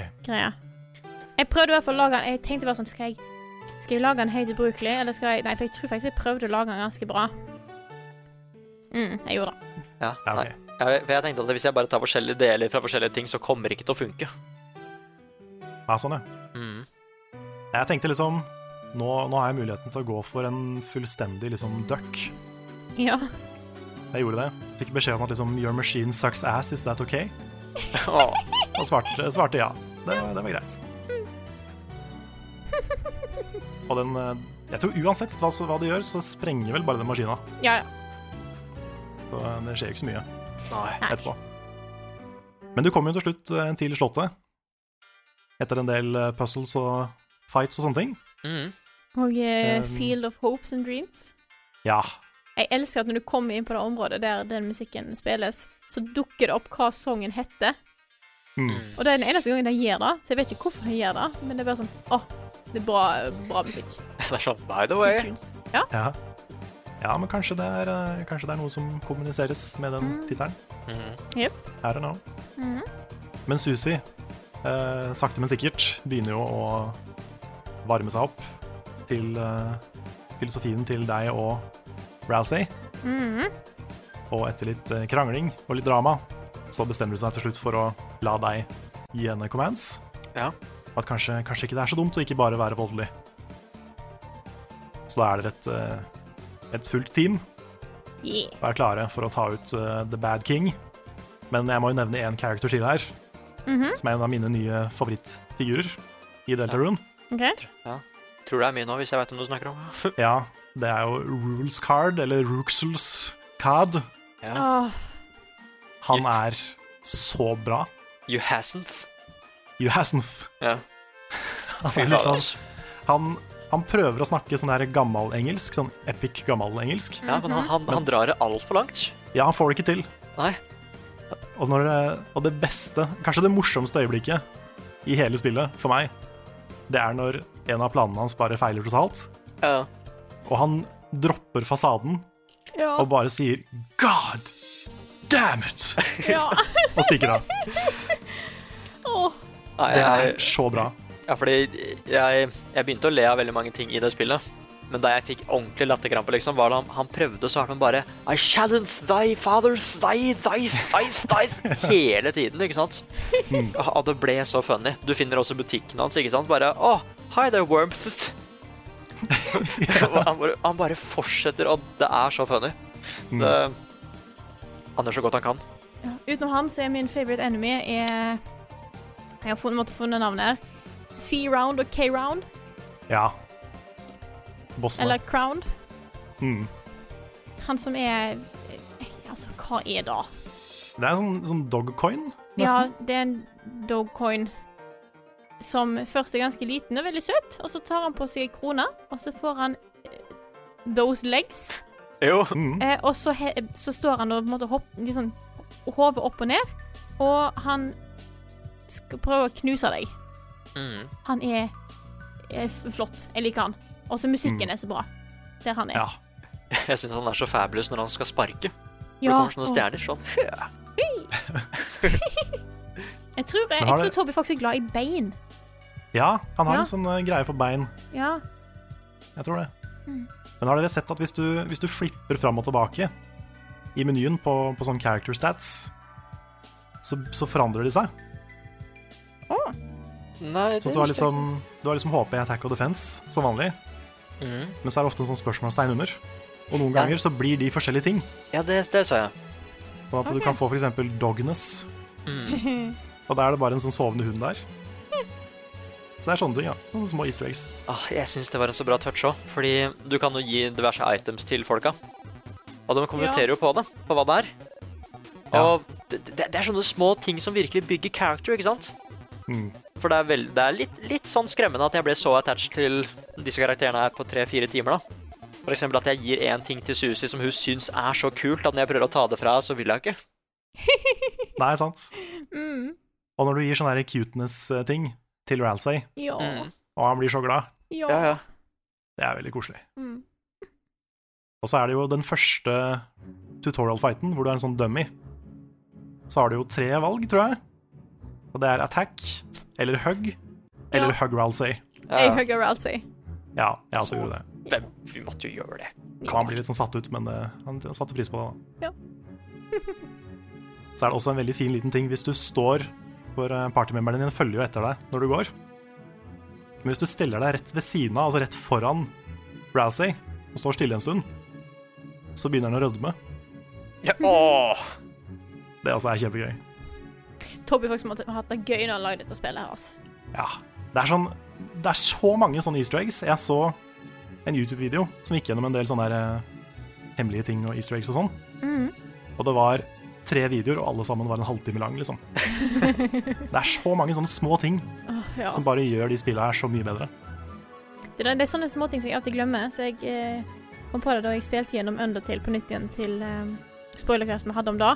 Jeg prøvde i hvert fall å lage den Jeg tenkte bare sånn Skal jeg, skal jeg lage den høyt ubrukelig, eller skal jeg Nei, for jeg tror faktisk jeg prøvde å lage den ganske bra. Mm, jeg gjorde det. Ja, Ja, nei. ok. Jeg, for jeg tenkte at hvis jeg bare tar forskjellige deler fra forskjellige ting, så kommer det ikke til å funke. Ja, sånn, ja. Mm. Jeg tenkte liksom nå, nå har jeg muligheten til å gå for en fullstendig liksom duck. Ja. Jeg gjorde det. Fikk beskjed om at liksom Your machine sucks ass, is that <laughs> OK? Åh. Og svarte, svarte ja. Det, var- det var greit. Og den eh, Jeg tror uansett hva, så- hva det gjør, så sprenger vel bare den maskina. Ja, ja. Så eh, det skjer jo ikke så mye Nei. etterpå. Men du kommer jo til slutt eh, til Slottet. Etter en del eh, puzzles og fights og sånne ting. Mm. Og eh, Um, Field of Hopes and Dreams. Ja. Jeg elsker at når du kommer inn på det området der den musikken spilles, så dukker det opp hva sangen heter. Mm. Og det er den eneste gangen de gjør det, så jeg vet ikke hvorfor de gjør det, men det er bare sånn Å, det er bra, bra musikk. Det er sånn By the Good way. tunes. Ja. ja. Ja, men kanskje det, er, eh, kanskje det er noe som kommuniseres med den tittelen. Mm. I don't know. Mhm. Men Susi, eh, sakte men sikkert, begynner jo å varme seg opp til eh, filosofien til deg og Ralsei. Mhm. Og etter litt eh, krangling og litt drama, så bestemmer hun seg til slutt for å la deg gi henne commands. Ja. Og at kanskje, kanskje ikke det er så dumt å ikke bare være voldelig. Så da er dere et, eh, et fullt team Yeah. og er klare for å ta ut eh, The Bad King. Men jeg må jo nevne én character til her, Mhm. som er en av mine nye favorittfigurer i Deltarune. OK. <laughs> Tror det er mye nå, hvis jeg vet om du snakker om. Ja, Det er jo Rules Card, eller Ruxels Card. Ja. Åh, Han er så bra. You hasn't. You hasn't. Ja. Han, Fy er fader, liksom, altså. <laughs> han, han prøver å snakke sånn der gammelengelsk, sånn epic gammelengelsk. Ja, men han, han, han drar det altfor langt. Ja, han får det ikke til. Nei. Og, når, det- og det beste, kanskje det morsomste øyeblikket i hele spillet for meg, det er når en av planene hans bare feiler totalt, Ja. og han dropper fasaden ja, og bare sier God damn it! ja. <laughs> og stikker av. Åh, Nei, Det jeg, er så bra. ja, fordi jeg, jeg begynte å le av veldig mange ting i det spillet. Men da jeg fikk ordentlig latterkrampe, liksom, var det han, han prøvde så hardt han bare I challenge thy fathers, thy, thy, thy, thy Hele tiden, ikke sant? Hmm. Og det ble så funny. Du finner også butikken hans, ikke sant? Bare Å, hi there, worms. Og han, bare, han bare fortsetter, og det er så funny. Mm. Det, han gjør så godt han kan. ja. Utenom han så er min favorite enemy er Jeg har funnet, måtte funnet navnet her. C-round og K-round. Ja. Bossene. Eller crown. Mm. Han som er Altså, hva er det? Det er sånn, sånn dogcoin, Ja, nesten. det er en dogcoin som først er ganske liten og veldig søt, og så tar han på seg en krone, og så får han eh, those legs, Jo. Mm. eh, og så, he så står han og på en måte hopp, liksom, hodet opp og ned, og han skal prøve å knuse deg. Mm. Han er, eh, f- flott. Jeg liker han. Og så musikken er så bra. Der han er. Ja. Jeg syns han er så fabulous når han skal sparke. For Det Ja, kommer sånne og- stjerner. Sånn. jeg tror, Men jeg, jeg har tror det- Toby faktisk er glad i bein. ja, han har Ja. en sånn eh, greie for bein. Ja. Jeg tror det. Mm. Men har dere sett at hvis du, hvis du flipper fram og tilbake i menyen på, på sånn character stats, så, så forandrer de seg? Nei, Så at du har liksom, du har liksom HP, attack og defense som vanlig, Mhm. men så er det ofte en sånn spørsmålstegn under. Og noen Ja. ganger så blir de forskjellige ting. Ja, det, det sa jeg. Sånn at du kan få f.eks. dogness, og da er det bare en sånn sovende hund der. Så det er sånne ting, ja. Sånne små easter eggs. Ah, jeg syns det var en så bra touch òg, fordi du kan jo gi diverse items til folka. Og de kommenterer jo på det, på hva det er. Ja. Og det, det, det er sånne små ting som virkelig bygger character, ikke sant? Mm. For det er, vel, det er litt, litt sånn skremmende at jeg ble så attached til disse karakterene her på tre-fire timer, da. For eksempel at jeg gir én ting til Susi som hun syns er så kult, at når jeg prøver å ta det fra henne, så vil hun ikke. Nei, sant? Mm. Og når du gir sånne her cuteness-ting til Ralsei, Ja. Mm. og han blir så glad, Ja. Ja, ja. det er veldig koselig. Mm. Og så er det jo den første tutorial-fighten, hvor du er en sånn dummy. Så har du jo tre valg, tror jeg. Og det er attack, eller hug, eller Ja. hug ralsei. ja, Jeg ja. hugger Ralsey. Ja, jeg også gjorde det. Hvem, vi måtte jo gjøre det. Kan han bli litt sånn satt ut, men eh, han han satte pris på det, da. Ja. <laughs> så er det også en veldig fin liten ting hvis du står For eh, partymemberen din følger jo etter deg når du går. Men hvis du stiller deg rett ved siden av, altså rett foran Ralsei, og står stille en stund, så begynner han å rødme. Ja, åh. Det også er kjempegøy. Toby faktisk måtte ha hatt det gøy når han lagde dette spillet her, altså. Ja. Det er, sånn, det er så mange sånne easter eggs. Jeg så en YouTube-video som gikk gjennom en del sånne her, eh, hemmelige ting og easter eggs og sånn. Mm. Og det var tre videoer, og alle sammen var en halvtime lang, <laughs> liksom. det er så mange sånne små ting Åh, ja. som bare gjør de spillene her så mye bedre. Det, er- det er sånne småting som jeg alltid glemmer, så jeg eh, kom på det da jeg spilte gjennom Undertale på nytt igjen til eh, spoilercasten vi hadde om da.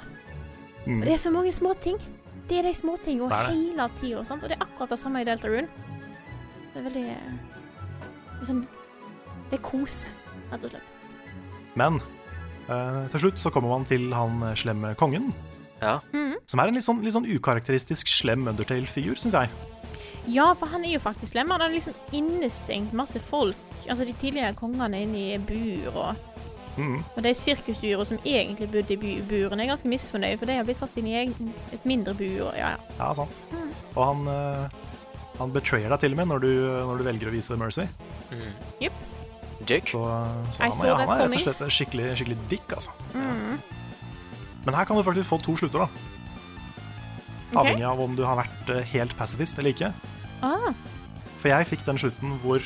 Mm. Det er så mange småting. Det er de småtinga Det er det. hele tida, sant. Og det er akkurat det samme i Delta Rune. Det er veldig eh, det er sånn Det er kos, rett og slett. Men eh, til slutt så kommer man til han eh, slemme kongen. Ja. Mm. Som er en litt sånn, litt sånn ukarakteristisk slem Undertale-figur, syns jeg. Ja, for han er jo faktisk slem. Han har liksom innestengt masse folk. Altså de tidligere kongene inne i bur og Mhm. Og de sirkusdyra som egentlig bodde i bu- buren, er ganske misfornøyd, for de har blitt satt inn i egen- et mindre bur. Ja, ja. Ja, sant. Mm. Og han, eh, han betrayer deg til og med når du, når du velger å vise mercy. Dick. Så, så I han, saw ja, han er rett that og coming. Mm. slett en skikkelig, skikkelig dick, altså. Men her kan du faktisk få to slutter, da. Ok. Avhengig av om du har vært eh, helt pasifist eller ikke. Ah, For jeg fikk den slutten hvor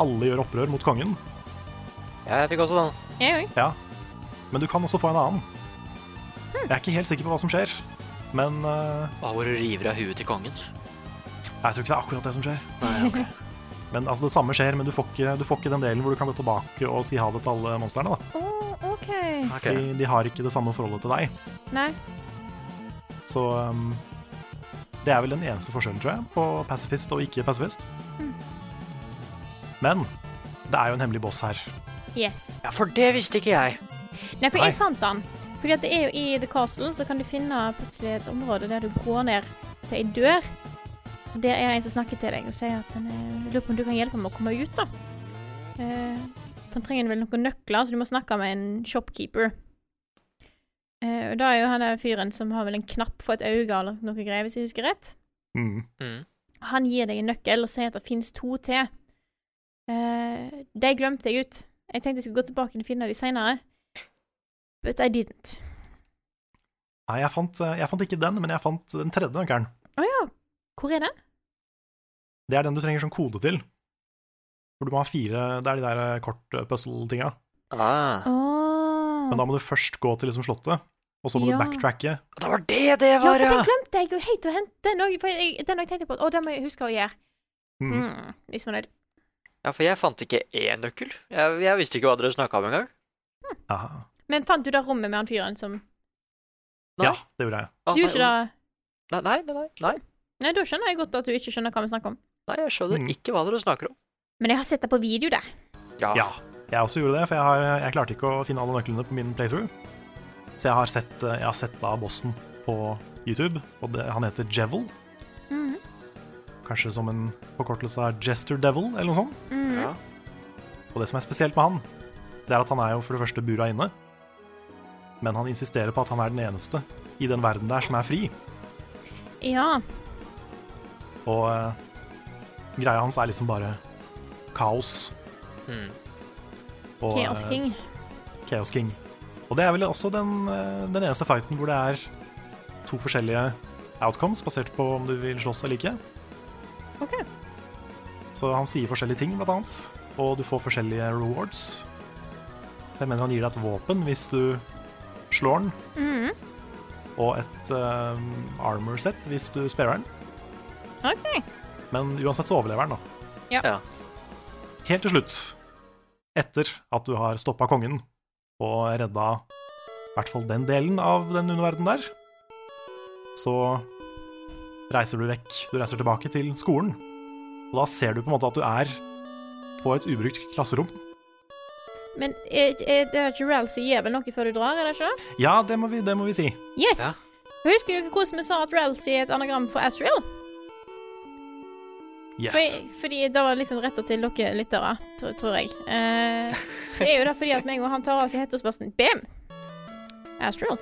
alle gjør opprør mot kongen, Jeg fikk også den. Jeg òg. Ja. Men du kan også få en annen. Jeg er ikke helt sikker på hva som skjer, men eh, Ahor river av huet til kongen. jeg tror ikke det er akkurat det som skjer. Men altså, Det samme skjer, men du får, ikke, du får ikke den delen hvor du kan gå tilbake og si ha det til alle monstrene. da. Å, OK. De, de har ikke det samme forholdet til deg. Nei. Så um, det er vel den eneste forskjellen, tror jeg, på pasifist og ikke pasifist. Men det er jo en hemmelig boss her. Yes. Ja, for det visste ikke jeg. Nei, for Nei. jeg fant den. Fordi at det er jo i The Castle, så kan du finne plutselig et område der du går ned til ei dør. Der er det en som snakker til deg og sier at han eh, lurer på om du kan hjelpe ham med å komme ut, da. Eh, for han trenger vel noen nøkler, så du må snakke med en shopkeeper. Eh, og da er jo han der fyren som har vel en knapp for et øye eller noe greier, hvis jeg husker rett. Mm. Han gir deg en nøkkel og sier at det finnes to til. Eh, de glemte jeg ut. Jeg tenkte jeg skulle gå tilbake og finne de seinere, but I didn't. Nei, jeg fant, jeg fant ikke den, men jeg fant den tredje nøkkelen. Å ja. Hvor er den? Det er den du trenger som kode til. For du må ha fire Det er de der eh, kort-puzzle-tinga. Ah. Oh. Men da må du først gå til liksom slottet, og så må Ja. du backtracke. Det var det det ja, var, for ja! den glemte jeg jo helt å hente. Den òg, for jeg, den også tenkte jeg på. Å, den må jeg huske å gjøre. Mm. Mm. Misfornøyd. Ja, for jeg fant ikke én nøkkel. Jeg, jeg visste ikke hva dere snakka om engang. Aha. Men fant du det rommet med han fyren som Nei. Ja, det gjorde jeg. Ah, Du gjorde ikke det? Nei, nei, nei, nei, nei. Nei, da skjønner jeg godt at du ikke skjønner hva vi snakker om. Nei, jeg skjønner Mm. ikke hva dere snakker om. Men jeg har sett det på video, det. Ah. Ja, jeg også gjorde det, for jeg, har, jeg klarte ikke å finne alle nøklene på min playthrough. Så jeg har sett, eh, jeg har sett da bossen på YouTube, og det, han heter Jevil. Mhm. Kanskje som en forkortelse av Jester Devil, eller noe sånt. Mm. Ja. Og det som er spesielt med han, det er at han er jo for det første bura inne, men han insisterer på at han er den eneste i den verden der som er fri. Ja. Og eh, greia hans er liksom bare kaos. Mm. Og, eh, Chaos King. Chaos King. Og det er vel også den, eh, den eneste fighten hvor det er to forskjellige outcomes, basert på om du vil slåss eller ikke. OK. Så han sier forskjellige ting, blant annet. Og du får forskjellige rewards. Jeg mener han gir deg et våpen hvis du slår den, Mhm. og et eh, armor set hvis du sparer den. OK. Men uansett så overlever den, da. Ja. Ja. Helt til slutt, etter at du har stoppa kongen og redda i hvert fall den delen av den underverden der, så reiser du vekk. Du reiser tilbake til skolen. Og da ser du på en måte at du er på et ubrukt klasserom. Men er, er det er ikke Ralph som gir vel noe før du drar, er det ikke? det? Ja, det må vi, det må vi si. Yes. Ja. Husker dere hvordan vi sa at Ralph er et anagram for Azrael? Yes. Fordi, fordi det var liksom retta til dere lyttere, tro, tror jeg. Eh, så er jo det fordi at meg og han tar av seg hette og spørsmål. Bam! Astral.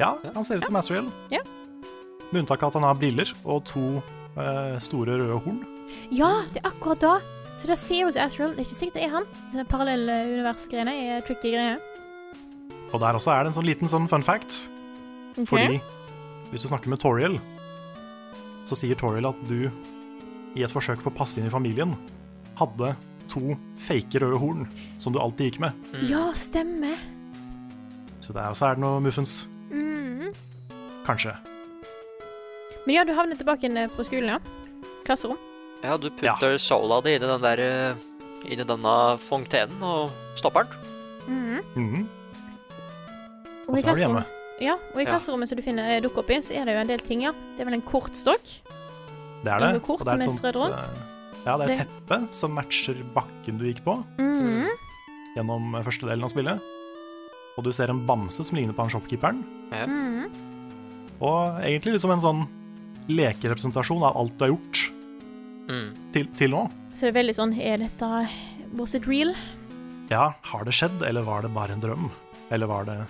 Ja, han ser ut som Azrael. Ja. Med unntak av at han har briller og to eh, store røde horn. Ja, det er akkurat da. Så det ser jo ut som Astral. Det er ikke sikkert det er han. Det Parallellunivers-greiene er eh, tricky greier. Og der også er det en sånn liten sånn fun fact. Ok. Fordi hvis du snakker med Toriel, så sier Toriel at du, i et forsøk på å passe inn i familien, hadde to fake røde horn som du alltid gikk med. Ja, stemmer. Så der også er det noe muffens. Mhm. Kanskje. Men ja, du havner tilbake igjen eh, på skolen, ja. Klasserom. ja, du putter sola di inn i den der eh, Inn i denne fontenen og stopper den. Mhm. Mhm. Og Og i så er du hjemme. klasserommet, ja, og i Ja. klasserommet som du finner eh, dukker opp i, så er det jo en del ting, ja. Det er vel en kortstokk. Det er det. Noe kort Og det som er strødd rundt. eh, Ja, det er et teppe som matcher bakken du gikk på Mhm. gjennom eh, første delen av spillet. Og du ser en bamse som ligner på han shopkeeperen. Mhm. Og egentlig liksom en sånn lekerepresentasjon av alt du har gjort Mm. til, til nå. Så det er veldig sånn Er dette Was it real? Ja, har det skjedd, eller var det bare en drøm? Eller var det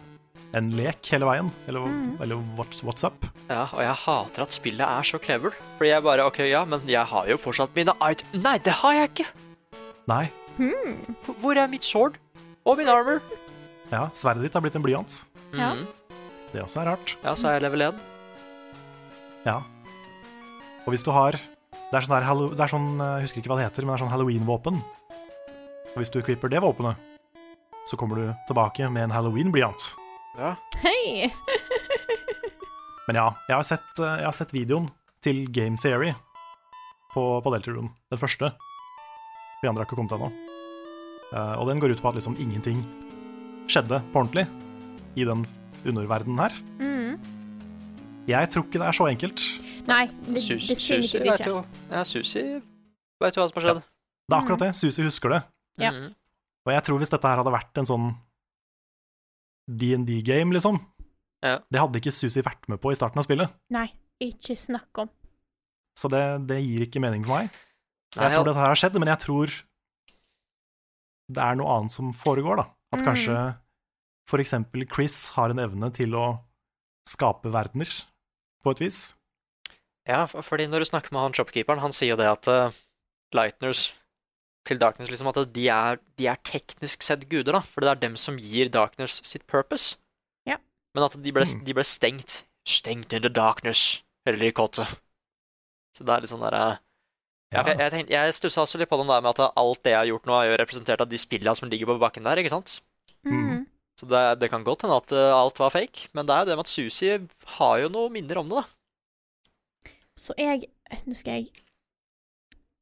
en lek hele veien? Eller, eller what, what's up? Ja, og jeg hater at spillet er så clever. Fordi jeg bare OK, ja, men jeg har jo fortsatt mine art... Nei, det har jeg ikke! Nei, Hvor- Hvor er mitt sword? Og min armor? ja, sverdet ditt har blitt en blyant. Ja. Mhm. Det også er rart. Ja, så er jeg level 1. Ja. Og hvis du har Det er sånn, der, hallo- det er sånn eh, jeg husker ikke hva det heter, men det er sånn halloween-våpen. Og hvis du equipper det våpenet, så kommer du tilbake med en halloween-blyant. Ja. Hei! Men ja, jeg har sett, eh, jeg har sett videoen til Game Theory på, på Deltarune. Den første. De andre har ikke kommet ennå. Eh, og den går ut på at liksom ingenting skjedde på ordentlig i den underverdenen her. Mm. Jeg tror ikke det er så enkelt. Nei, Sus- definitivt Susi vet ikke. jo Ja, Susi vet jo hva som har skjedd. Det er akkurat det. Susi husker det. Ja. Mhm. Og jeg tror hvis dette her hadde vært en sånn DND-game, liksom Ja. Det hadde ikke Susi vært med på i starten av spillet. Nei, ikke snakk om. Så det, det gir ikke mening for meg. Nei, jeg tror dette her har skjedd, men jeg tror det er noe annet som foregår, da. At Mm. kanskje for eksempel Chris har en evne til å skape verdener, på et vis. Ja, for- fordi når du snakker med han shopkeeperen, han sier jo det at eh, Lightners til Darkness liksom at de er, de er teknisk sett guder, da. For det er dem som gir Darkness sitt purpose. Ja. Men at de ble, Mm. de ble stengt. Stengt in the darkness, eller i kottet. Så det er litt sånn derre ja, Ja. for jeg, jeg, tenkte- jeg stussa også litt på den der med at eh, alt det jeg har gjort nå, er jo representert av de spilla som ligger på bakken der, ikke sant? Mm. Så det, det kan godt hende at eh, alt var fake, men det er jo det med at Susi har jo noe minner om det, da. Så jeg Nå skal jeg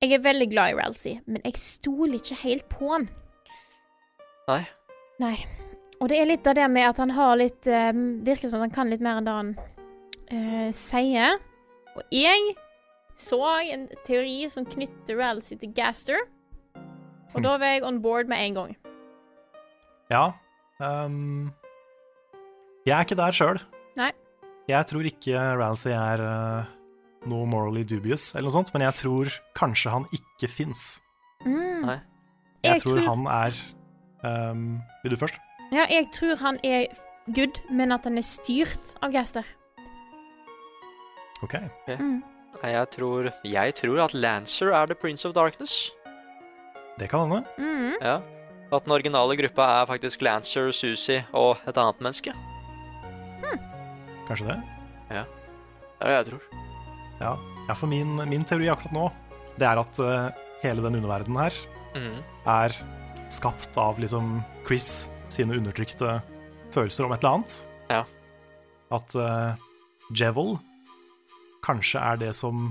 Jeg er veldig glad i Ralsey, men jeg stoler ikke helt på han. Nei. Nei. Og det er litt av det med at han har litt eh, Virker som at han kan litt mer enn det han eh, sier. Og jeg så en teori som knytter Ralsey til Gaster, og Hm. Mm. da var jeg on board med en gang. Ja. ehm, jeg er ikke der sjøl. Nei. Jeg tror ikke Rancy er eh, noe morally dubious, eller noe sånt, men jeg tror kanskje han ikke fins. Mm. Nei. Jeg, tror, han er ehm, Vil du først? Ja, jeg tror han er good, men at han er styrt av Gaster. OK. Mm. Nei, Jeg tror, jeg tror at Lancer er The Prince of Darkness. Det kan hende. Mm. Ja. At den originale gruppa er faktisk Lancer, Susi og et annet menneske. Kanskje det. Det er det jeg tror. Ja, ja for min, min teori akkurat nå, det er at eh, hele den underverdenen her Mhm. er skapt av liksom Chris sine undertrykte følelser om et eller annet. Ja. At eh, Jevil kanskje er det som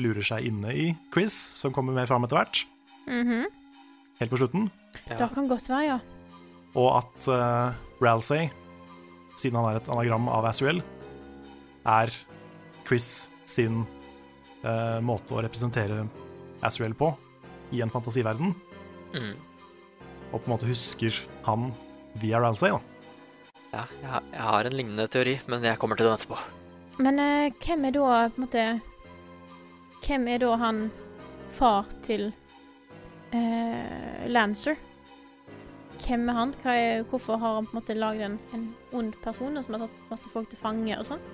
lurer seg inne i Chris, som kommer mer fram etter hvert, Mhm. helt på slutten. Ja. Det kan godt være, ja. Og at uh, Ralsei, siden han er et anagram av Azriel, er Chris sin eh, måte å representere Azriel på i en fantasiverden, Mhm. og på en måte husker han via Ralsei, da. ja jeg, har- jeg har en lignende teori, men jeg kommer til den etterpå. Men eh, hvem er da på en måte Hvem er da han far til eh, Lancer? Hvem er han? Hva er, hvorfor har han på en måte lagd en, en ond person som har tatt masse folk til fange og sånt?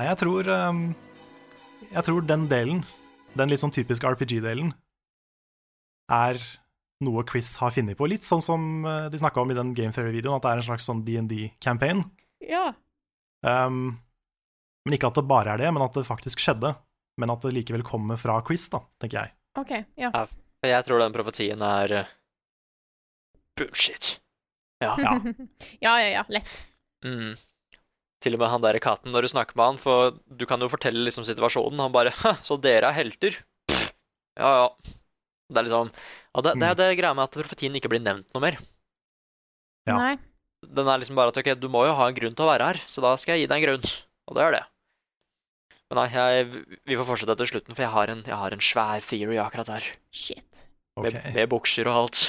Nei, jeg tror ehm, Jeg tror den delen, den litt sånn typiske RPG-delen, er noe Chris har funnet på. Litt sånn som eh, de snakka om i den Game Theory-videoen, at det er en slags sånn DND-campaign. Ja. Ehm, men ikke at det bare er det, men at det faktisk skjedde. Men at det likevel kommer fra Chris, da, tenker jeg. OK. Ja. For jeg tror den profetien er eh, bullshit. Ja. Ja. <laughs> ja, ja, ja. Lett. Mhm. Til og med han der katten, når du snakker med han, for du kan jo fortelle liksom situasjonen, han bare «Hæ, Så dere er helter? Pff, Ja, ja. Det er liksom ja, det, det er det greia med at profetien ikke blir nevnt noe mer. Ja. Nei. Den er liksom bare at ok, du må jo ha en grunn til å være her, så da skal jeg gi deg en grunn. Og det er det. Men nei, jeg, vi får fortsette etter slutten, for jeg har en, jeg har en svær theory akkurat der. Shit. Ok. Med, med bukser og alt. <laughs>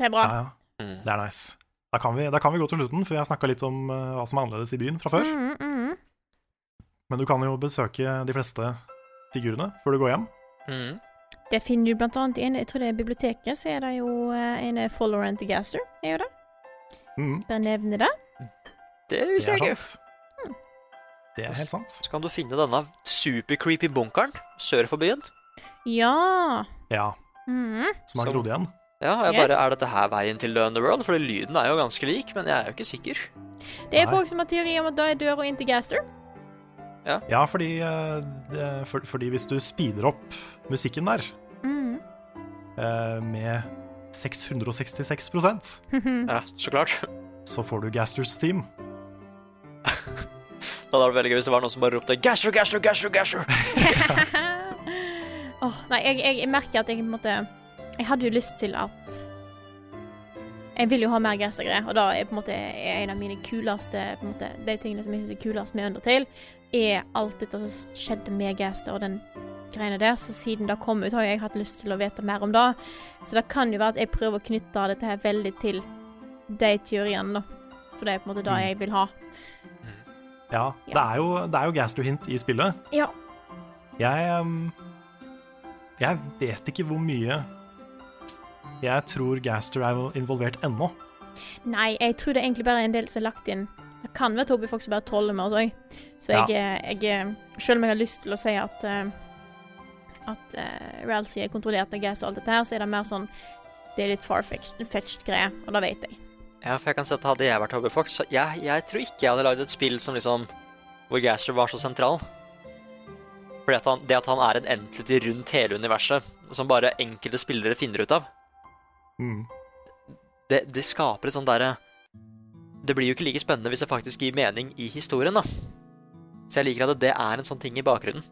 Mm. Det Ja, er bra. ja. Det er nice. Da kan, vi, da kan vi gå til slutten, for jeg snakka litt om eh, hva som er annerledes i byen fra før. Mm, mm. Men du kan jo besøke de fleste figurene før du går hjem. Mm. Det finner du blant annet i en, jeg tror det er biblioteket, så er det jo eh, en follower til Gaster. Er jo det? Mhm, Bare nevne det. Det det visste er jeg ikke. sant. Det er helt sant. Så kan du finne denne supercreepy bunkeren sør for byen. Ja. Ja, Mm. som har Som- grodd igjen. Ja, jeg Yes. bare, Er dette her veien til The Underworld? Fordi lyden er jo ganske lik, men jeg er jo ikke sikker. Det er Nei. folk som har teori om at da er døra inn til Gaster. Ja, fordi, eh, det- <laughs> for, fordi hvis du speeder opp musikken der Mm. eh, med 666 Ja, så klart. så får du Gasters Team. Det hadde vært veldig gøy hvis det var noen som bare ropte 'Gasher, Gasher, Gasher'. gasher. <laughs> Åh, nei, jeg, jeg, jeg merker at jeg på en måte Jeg hadde jo lyst til at Jeg vil jo ha mer gressergreier, og da er på en måte er en av mine kuleste på en måte, De tingene som jeg syns er kulest med Undertale, er alt dette som skjedde med Gaster og den greiene der. Så siden det kom ut, har jeg hatt lyst til å vite mer om det. Så det kan jo være at jeg prøver å knytte dette her veldig til de teoriene, da. For det er på en måte det jeg vil ha. Ja, det er jo, det er jo Gaster-hint i spillet. Ja. Jeg ehm, Jeg vet ikke hvor mye jeg tror Gaster er involvert ennå. Nei, jeg tror det er egentlig bare en del som er lagt inn. Det kan være Tobi folk som bare troller med oss òg. Så Ja. jeg, eh, jeg Selv om jeg har lyst til å si at eh, At uh, Ralsey er kontrollert av gas og alt dette her, så er det mer sånn Det er litt far-fetched greie, og det vet jeg. Ja, for jeg kan si at Hadde jeg vært Hobby Fox, så jeg, jeg tror ikke jeg hadde lagd et spill som liksom hvor Gaster var så sentral. Fordi at han, Det at han er en entity rundt hele universet, som bare enkelte spillere finner ut av, Mm. det, det skaper et sånt derre Det blir jo ikke like spennende hvis det faktisk gir mening i historien, da. Så jeg liker at det er en sånn ting i bakgrunnen.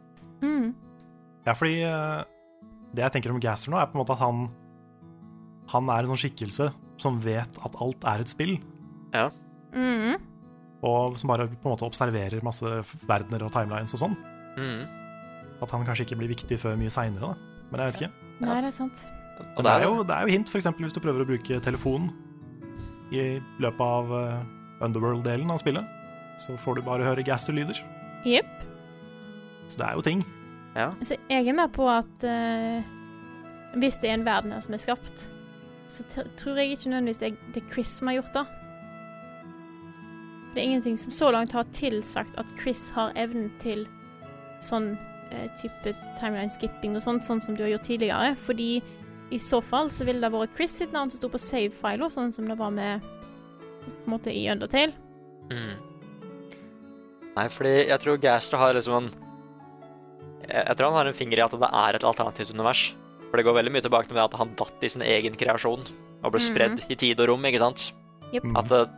Mm. Ja, fordi eh, det jeg tenker om Gaster nå, er på en måte at han Han er en sånn skikkelse som vet at alt er et spill, Mm. og som bare på en måte observerer masse verdener og timelines og sånn. Mm. At han kanskje ikke blir viktig før mye seinere, da. Men jeg vet ikke. Nei, det er sant. Og Men det er jo, det er jo hint, f.eks. hvis du prøver å bruke telefonen i løpet av eh, Underworld-delen av spillet. Så får du bare høre Gaster-lyder. Jepp. Så det er jo ting. Så jeg er med på at eh, hvis det er en verden her som er skapt, så t tror jeg ikke nødvendigvis det er, det er Chris som har gjort det. For det er ingenting som så langt har tilsagt at Chris har evnen til sånn eh, type timeline-skipping og sånt, sånn som du har gjort tidligere. Fordi i så fall så ville det vært Chris sitt navn som sto på save-fila, sånn som det var med på en måte i Undertale. Mm. Nei, fordi jeg tror Gaster har liksom en jeg, jeg tror han har en finger i at det er et alternativt univers. For det går veldig mye tilbake til det at han datt i sin egen kreasjon og ble Mhm. spredd i tid og rom, ikke sant? Jepp. Mm. At eh,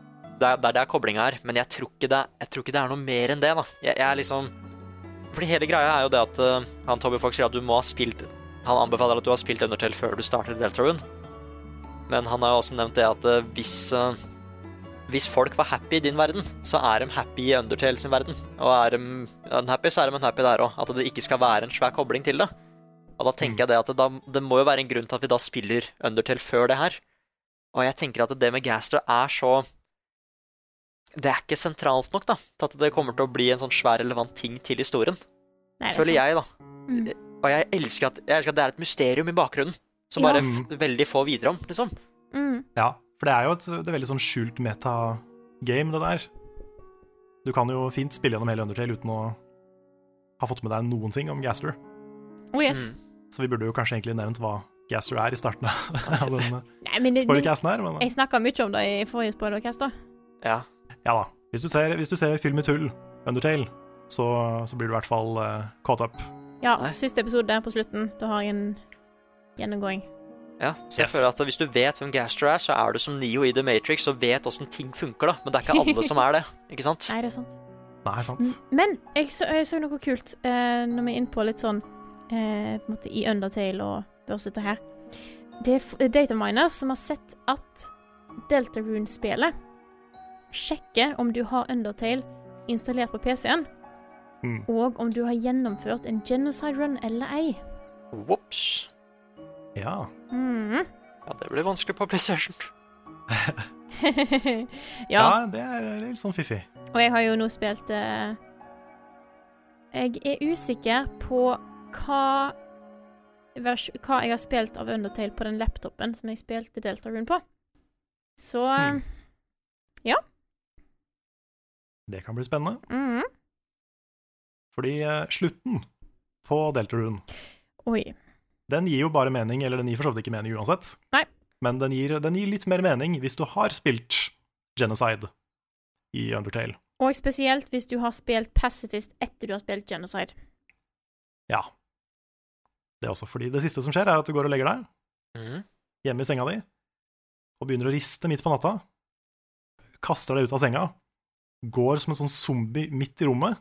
det er det er der koblinga er, men jeg tror, ikke det, jeg tror ikke det er noe mer enn det, da. Jeg, jeg er liksom Fordi hele greia er jo det at eh, han Toby Fox sier at du må ha spilt Han anbefaler at du har spilt Undertale før du starter Deltarune, men han har jo også nevnt det at eh, hvis eh, hvis folk var happy i din verden, så er de happy i Undertale sin verden. Og er de unhappy, så er de unhappy der òg. At det ikke skal være en svær kobling til det. Og da tenker jeg det at det, da, det må jo være en grunn til at vi da spiller Undertale før det her. Og jeg tenker at det med Gaster er så Det er ikke sentralt nok, da. Til at det kommer til å bli en sånn svær relevant ting til historien. Nei, det er Føler sant. jeg, da. Mm. Og jeg elsker, at, jeg elsker at det er et mysterium i bakgrunnen. Som Ja. bare f veldig få videre om, liksom. Mm. Ja, for det er jo et, det er veldig sånn skjult meta-game, det der. Du kan jo fint spille gjennom hele Undertale uten å ha fått med deg noen ting om Gaster. Oh yes. Mm. Så vi burde jo kanskje egentlig nevnt hva Gaster er i starten av <laughs> den eh, Nei, men det, men, spoilercasten her, men jeg snakka mye om det i forrige spoilercast, da. Ja. ja da. Hvis du ser, hvis du ser film i tull, Undertale, så, så blir du i hvert fall eh, caught up. Ja, Nei. siste episode der på slutten. Da har jeg en gjennomgåing. Ja, så jeg Yes. føler at hvis du vet hvem Gaster er, så er du som Neo i The Matrix og vet åssen ting funker, da. Men det er ikke alle som er <laughs> det, ikke sant? Nei, det er sant. Nei, sant? Men jeg så, jeg så noe kult eh, når vi er inne på litt sånn eh, på en måte i Undertale og børs dette her. Det er f- dataminers som har sett at Deltarune-spelet sjekker om du har Undertale installert på PC-en, Mm. og om du har gjennomført en genocide run eller ei. Whoops. Ja. Mm. Ja, det blir vanskelig på PlayStation. ja, <laughs> ja, det er litt sånn fiffig. Og jeg har jo nå spilt eh, Jeg er usikker på hva, vers, hva jeg har spilt av Undertale på den laptopen som jeg spilte Deltarune på. Så Hmm. Det kan bli spennende. mm. Fordi eh, slutten på Deltarune Oi. Den gir jo bare mening, eller den gir for så vidt ikke mening uansett. Nei. Men den gir, den gir litt mer mening hvis du har spilt Genocide i Undertale. Og spesielt hvis du har spilt Pacifist etter du har spilt Genocide. Ja. Det er også fordi det siste som skjer, er at du går og legger deg, Mhm. hjemme i senga di og begynner å riste midt på natta. Kaster deg ut av senga, går som en sånn zombie midt i rommet,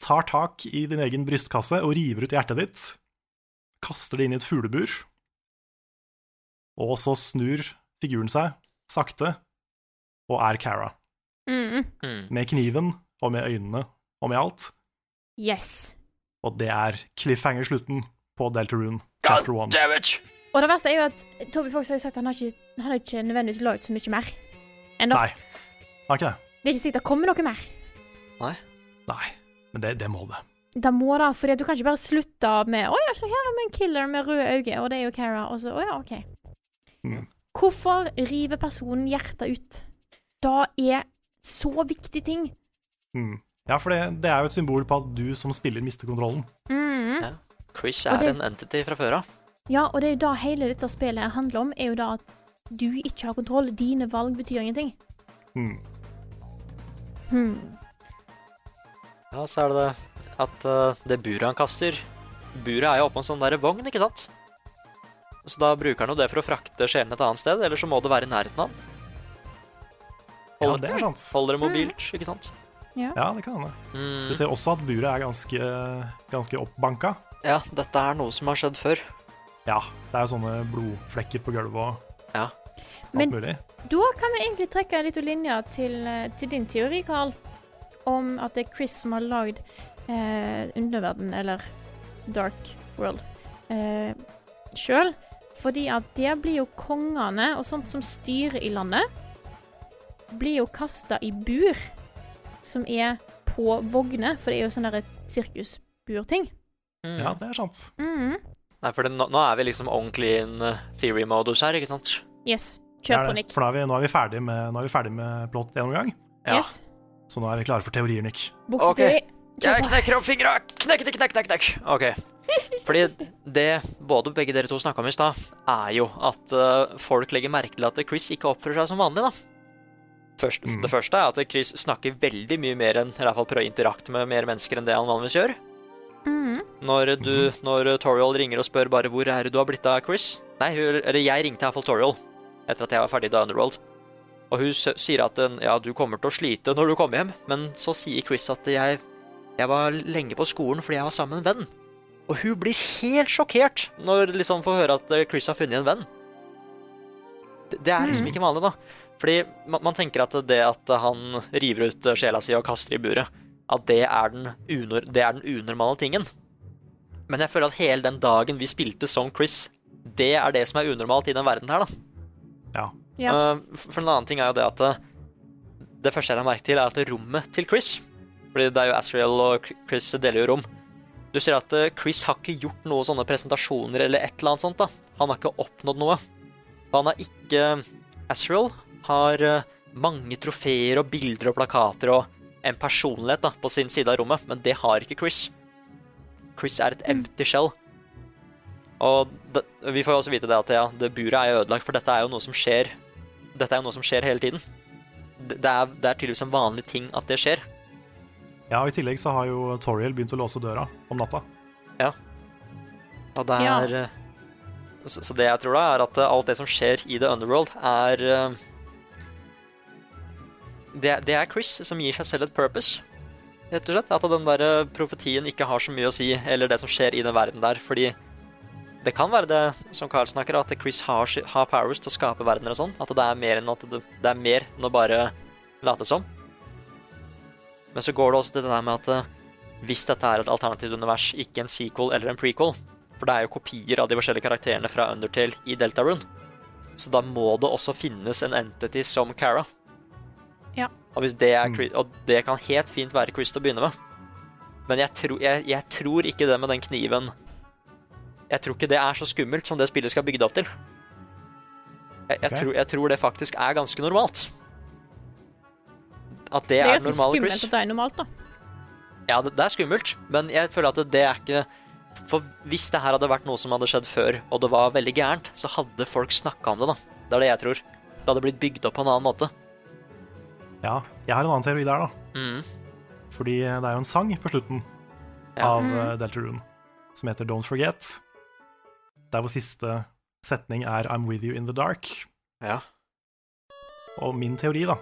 tar tak i din egen brystkasse og river ut hjertet ditt, kaster det inn i et fuglebur, og så snur figuren seg sakte og er Cara, Mm. Mm. med kniven og med øynene og med alt, Yes. og det er cliffhanger-slutten på Deltarune chapter 1. Damage! Og det verste er jo at Toby Fox har jo sagt at han har ikke, han har ikke nødvendigvis lagd så mye mer. Ennå. Nei, det er ikke det. Det er ikke sikkert det kommer noe mer. Nei, men det, det må det. Da må det, fordi at du kan ikke bare slutte med 'Å ja, så her er vi en killer med røde øyne', og det er jo Cara, og så 'Å ja, OK'. Mm. Hvorfor river personen hjertet ut? Det er så viktig ting. Mm. Ja, for det, det er jo et symbol på at du som spiller mister kontrollen. Mm. Chris Og er det- en entity fra før av. Ja, og det er jo det hele dette spillet her handler om, er jo da at du ikke har kontroll. Dine valg betyr ingenting. Mm. Hmm. Ja, så er det det at eh, det buret han kaster Buret er jo oppå en sånn derre vogn, ikke sant? Så da bruker han jo det for å frakte sjelen et annet sted, eller så må det være i nærheten av han. Ja, det er sant. Holder det mobilt, ikke sant? Ja, det kan hende. Du Mm. ser også at buret er ganske, ganske oppbanka. Ja, dette er noe som har skjedd før. Ja, det er jo sånne blodflekker på gulvet og Ja. alt Men- mulig. Da kan vi egentlig trekke en liten linje til, eh, til din teori, Carl, om at det er Chris som har lagd eh, underverden, eller Dark World, eh, sjøl. Fordi at der blir jo kongene og sånt som styrer i landet, blir jo kasta i bur som er på vogner, for det er jo sånn derre sirkusburting. Mm. Ja, det er sant. Mm. Nei, for det, nå, nå er vi liksom ordentlig i en eh, theory-modus her, ikke sant? Yes. Det Kjør er på, det. Nick. For nå er, vi, nå, er vi ferdig med, nå er vi ferdig med plott gjennomgang, Ja. Yes. så nå er vi klare for teorier, Nick. Bukseteori. Kjør Jeg på. knekker opp fingra! Knekk, knekk, knekk, knekk, knekk! OK. Fordi det både begge dere to snakka om i stad, er jo at eh, folk legger merke til at Chris ikke oppfører seg som vanlig, da. Først, Mm. Det første er at Chris snakker veldig mye mer enn, eller i hvert fall prøver å interakte med mer mennesker enn det han vanligvis gjør. Mm. Når, du, når Toriel ringer og spør bare 'Hvor er det du har blitt av, Chris?' Nei, hun, eller jeg ringte iallfall Toriel etter at jeg var ferdig i The Underworld. Og hun s- sier at eh, 'ja, du kommer til å slite når du kommer hjem', men så sier Chris at 'jeg, jeg var lenge på skolen fordi jeg var sammen med en venn'. Og hun blir helt sjokkert når liksom får høre at eh, Chris har funnet en venn. Det, det er liksom Mhm. ikke vanlig, da. Fordi man, man tenker at det at han river ut eh, sjela si og kaster i buret, at det er den, unor det er den unormale tingen. Men jeg føler at hele den dagen vi spilte som Chris, det er det som er unormalt i den verden her, da. Ja. Ja. Eh, f- for en annen ting er jo det at eh, det første jeg la merke til, er at rommet til Chris Fordi det er jo Asriel og K- Chris deler jo rom. Du ser at eh, Chris har ikke gjort noen sånne presentasjoner eller et eller annet sånt, da. Han har ikke oppnådd noe. Og han har ikke eh, Asriel har eh, mange trofeer og bilder og plakater og en personlighet da, på sin side av rommet, men det har ikke Chris. Chris er et empty shell. Og det, vi får jo også vite det at ja, det buret er jo ødelagt, for dette er jo noe som skjer Dette er jo noe som skjer hele tiden. Det, det, er, det er tydeligvis en vanlig ting at det skjer. Ja, og I tillegg så har jo Toriel begynt å låse døra om natta. Og det Ja. er eh, så, så det jeg tror da, er at eh, alt det som skjer i The Underworld, er eh, det, det er Chris som gir seg selv et purpose, rett og slett. At den der eh, profetien ikke har så mye å si, eller det som skjer i den verden der. Fordi det kan være det, som Carl snakker, at Chris har, si- har powers til å skape verdener og sånn. At det er mer enn at det, det er mer enn å bare late som. Men så går det også til det der med at eh, hvis dette er et alternativt univers, ikke en sequel eller en prequel, for det er jo kopier av de forskjellige karakterene fra Undertale i Deltarune. Så da må det også finnes en entity som Cara. Ja. Og, hvis det er, Mm. Chris- og det kan helt fint være Chris til å begynne med. Men jeg, tro, jeg, jeg tror ikke det med den kniven Jeg tror ikke det er så skummelt som det spillet skal bygge det opp til. Jeg, jeg, Ok. tror, jeg tror det faktisk er ganske normalt. At det, Det er er, ganske normale skummelt Chris. at det er normalt, da. Ja, det, det er skummelt, men jeg føler at det er ikke For hvis det her hadde vært noe som hadde skjedd før, og det var veldig gærent, så hadde folk snakka om det, da. Det er det jeg tror. Det hadde blitt bygd opp på en annen måte. Ja, jeg har en annen teori der, da. Mm. Fordi eh, det er jo en sang på slutten Ja. av eh, Deltarune som heter Don't Forget. Det er vår siste setning er 'I'm with you in the dark'. Ja. Og min teori, da,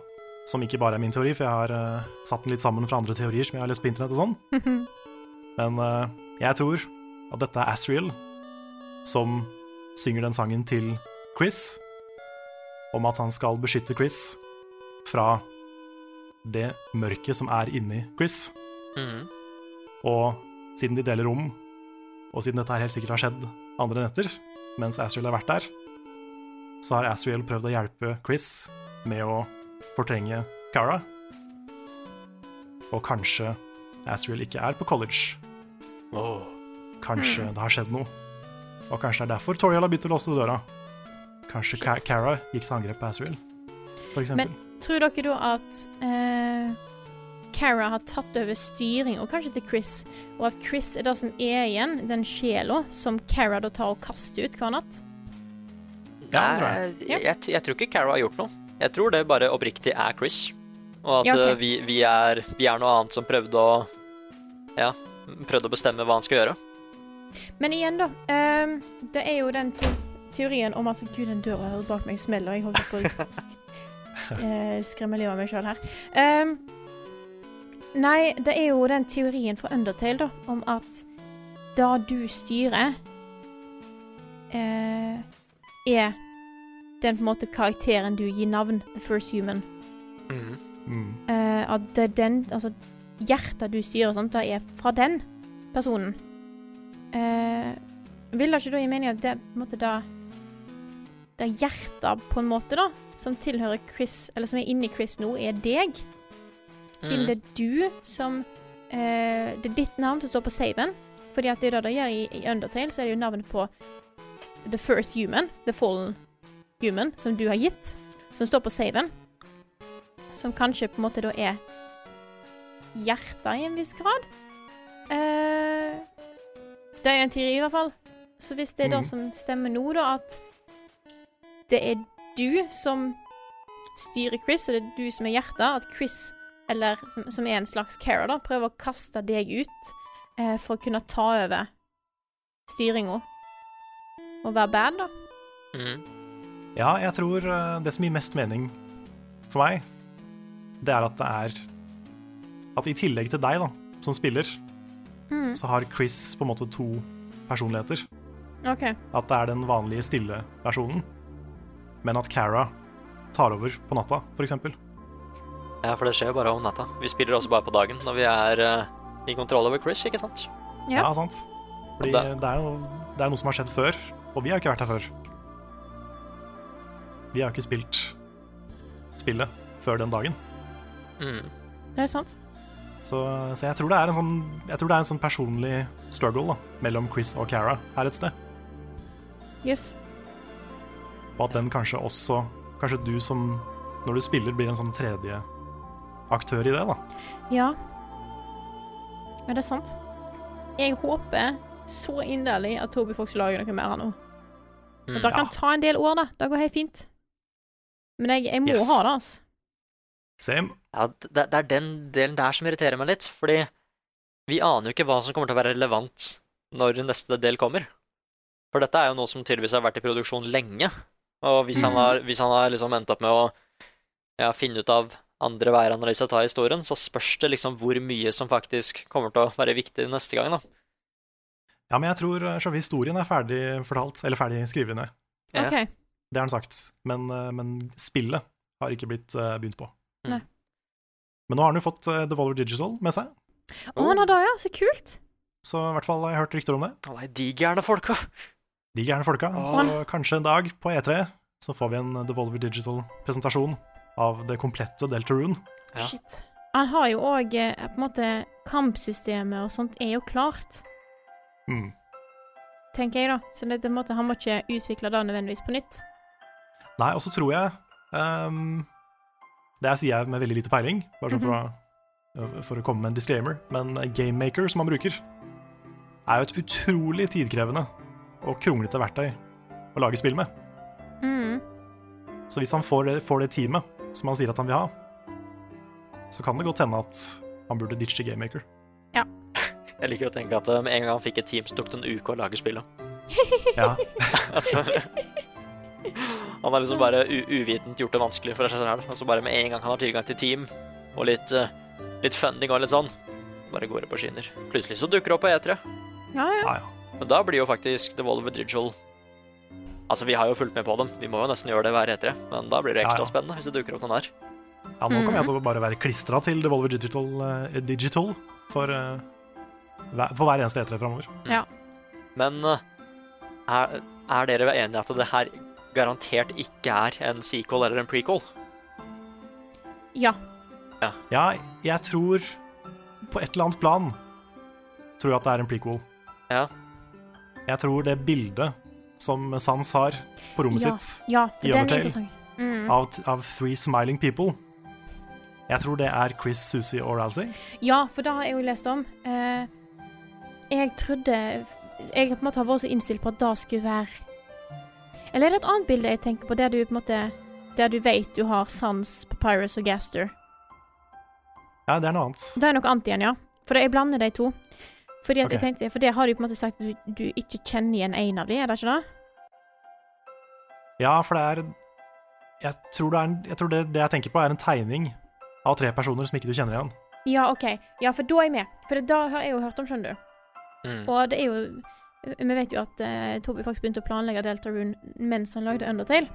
som ikke bare er min teori, for jeg har eh, satt den litt sammen fra andre teorier som jeg har lest på internett og sånn, men eh, jeg tror at dette er Asriel som synger den sangen til Chris, om at han skal beskytte Chris fra det mørket som er inni Chris. Mhm. Og siden de deler rom, og siden dette her helt sikkert har skjedd andre netter, mens Asriel har vært der, så har Asriel prøvd å hjelpe Chris med å fortrenge Cara. Og kanskje Asriel ikke er på college. Kanskje det har skjedd noe. Og kanskje det er derfor Toriel har begynt å låse døra. Kanskje Ka Cara gikk til angrep på Asriel, for eksempel. Tror dere da at eh, Cara har tatt over styring, og kanskje til Chris, og at Chris er det som er igjen, den sjela som Cara da tar og kaster ut hver natt? Ja, det tror Nei, jeg, jeg, jeg tror ikke Cara har gjort noe. Jeg tror det bare oppriktig er Chris. Og at Ja, ok. eh, vi, vi, er, vi er noe annet som prøvde å Ja, prøvde å bestemme hva han skal gjøre. Men igjen, da. ehm, det er jo den te teorien om at Gud, den døra her bak meg smeller. Jeg holder på å eh, skremme livet av meg sjøl her. Ehm, nei, det er jo den teorien fra Undertale, da, om at det du styrer, eh, er den på en måte karakteren du gir navn. The first human. Mm. Eh, at det er den, altså hjertet du styrer og sånt, det er fra den personen. Eh, vil det ikke da gi mening at det på en måte da Det hjertet, på en måte, da, som tilhører Chris, eller som er inni Chris nå, er deg? Siden Mhm. det er du som eh, Det er ditt navn som står på saven. Fordi at det er det det gjør i, i Undertale, så er det jo navnet på The First Human, The Fallen Human, som du har gitt, som står på saven. Som kanskje på en måte da er hjertet i en viss grad. Eh, det er jo en teori, i hvert fall. Så hvis det er Mhm. det som stemmer nå, da, at det er du som styrer Chris, og det er du som er hjertet, at Chris, eller som, som er en slags carer, da, prøver å kaste deg ut eh, for å kunne ta over styringa og være bad, da. Mhm. Ja, jeg tror eh, det som gir mest mening for meg, det er at det er At i tillegg til deg, da, som spiller, Mm. så har Chris på en måte to personligheter. OK. At det er den vanlige stille versjonen, men at Cara tar over på natta, for eksempel. Ja, for det skjer jo bare om natta. Vi spiller også bare på dagen når vi er eh, i kontroll over Chris, ikke sant? Ja. Ja, sant? Fordi Og da- det er jo det er noe som har skjedd før, og vi har ikke vært her før. Vi har ikke spilt spillet før den dagen. Mhm. Det er sant. Så, så jeg, tror det er en sånn, jeg tror det er en sånn personlig struggle da, mellom Chris og Cara her et sted. Yes. Og at den kanskje også Kanskje du som, når du spiller, blir en sånn tredje aktør i det. da. Ja. Ja, det er sant. Jeg håper så inderlig at Toby Fox lager noe mer her nå. Og Mm, det kan ja. ta en del år, da. Det går helt fint. Men jeg, jeg må Yes. ha det, altså. Same. Ja, det, det er den delen der som irriterer meg litt, fordi vi aner jo ikke hva som kommer til å være relevant når neste del kommer. For dette er jo noe som tydeligvis har vært i produksjon lenge, og hvis han har, hvis han har liksom endt opp med å ja, finne ut av andre veier han har lyst til å ta i historien, så spørs det liksom hvor mye som faktisk kommer til å være viktig neste gang, da. Ja, men jeg tror eh, selve historien er ferdig fortalt, eller ferdig skrevet ned. Ja. OK. Det har han sagt, men, eh, men spillet har ikke blitt eh, begynt på. Nei. Men nå har han jo fått eh, Devolver Digital med seg, Å, Oh. han har det, ja. Så kult. så i hvert fall har jeg hørt rykter om det. Å, nei, de gærne folka! De gærne folka. Så kanskje en dag på E3 så får vi en Devolver Digital-presentasjon av det komplette Deltarune. Ja. Shit. Han har jo òg på en måte Kampsystemet og sånt er jo klart, Mm. tenker jeg, da. Så det, det måtte, han må ikke utvikle det nødvendigvis på nytt. Nei, og så tror jeg ehm, Det her sier jeg med veldig lite peiling, bare sånn for, å, eh, for å komme med en disclaimer, men GameMaker, som han bruker, er jo et utrolig tidkrevende og kronglete verktøy å lage spill med. Mm. Så hvis han får det, får det teamet som han sier at han vil ha, så kan det godt hende at han burde ditche GameMaker. Jeg liker å tenke at eh, med en gang han fikk et team, så tok det en uke å lage spillet. Ja. Jeg tror- <laughs> Han har liksom bare u uvitent gjort det vanskelig for seg selv. Og så bare med en gang han har tilgang til team og litt, eh, litt funding og litt sånn, bare går det på skinner. Plutselig så dukker det opp på E3. Ja, ja. Ja, ja. Men da blir jo faktisk Devolver Digital Altså, vi har jo fulgt med på dem. Vi må jo nesten gjøre det hver E3, men da blir det Ja, ja. ekstra spennende hvis det dukker opp noen her. Ja, nå Mm. kommer jeg til å bare være klistra til Devolver Digital, eh, Digital for, eh, hver- på hver eneste E3 framover. Men eh, er, er dere enige at det her garantert ikke er en sequel eller en prequel? ja. Ja, jeg tror på et eller annet plan tror jeg at det er en prequel. Ja. Jeg tror det bildet som Sans har på rommet Ja. sitt ja for I den er Undertale. interessant. Mm. av, av Three Smiling People, jeg tror det er Chris, Susie og Razzie. Ja, for det har jeg jo lest om. Eh, jeg trodde Jeg på en måte har vært så innstilt på at det skulle være Eller er det et annet bilde jeg tenker på, der du på en måte Der du vet du har sans, papyrus og gaster? Ja, det er noe annet. Det er noe annet igjen, ja. For jeg blander de to. Fordi at Ok. jeg tenkte, for det har du på en måte sagt at du, du ikke kjenner igjen en av de, er det ikke det? Ja, for det er Jeg tror, det, er en, jeg tror det, det jeg tenker på, er en tegning av tre personer som ikke du kjenner igjen. Ja, OK. Ja, for da er jeg med. For det, da har jeg jo hørt om, skjønner du. Mm. Og det er jo Vi vet jo at eh, Toby faktisk begynte å planlegge Deltarune mens han lagde Undertale.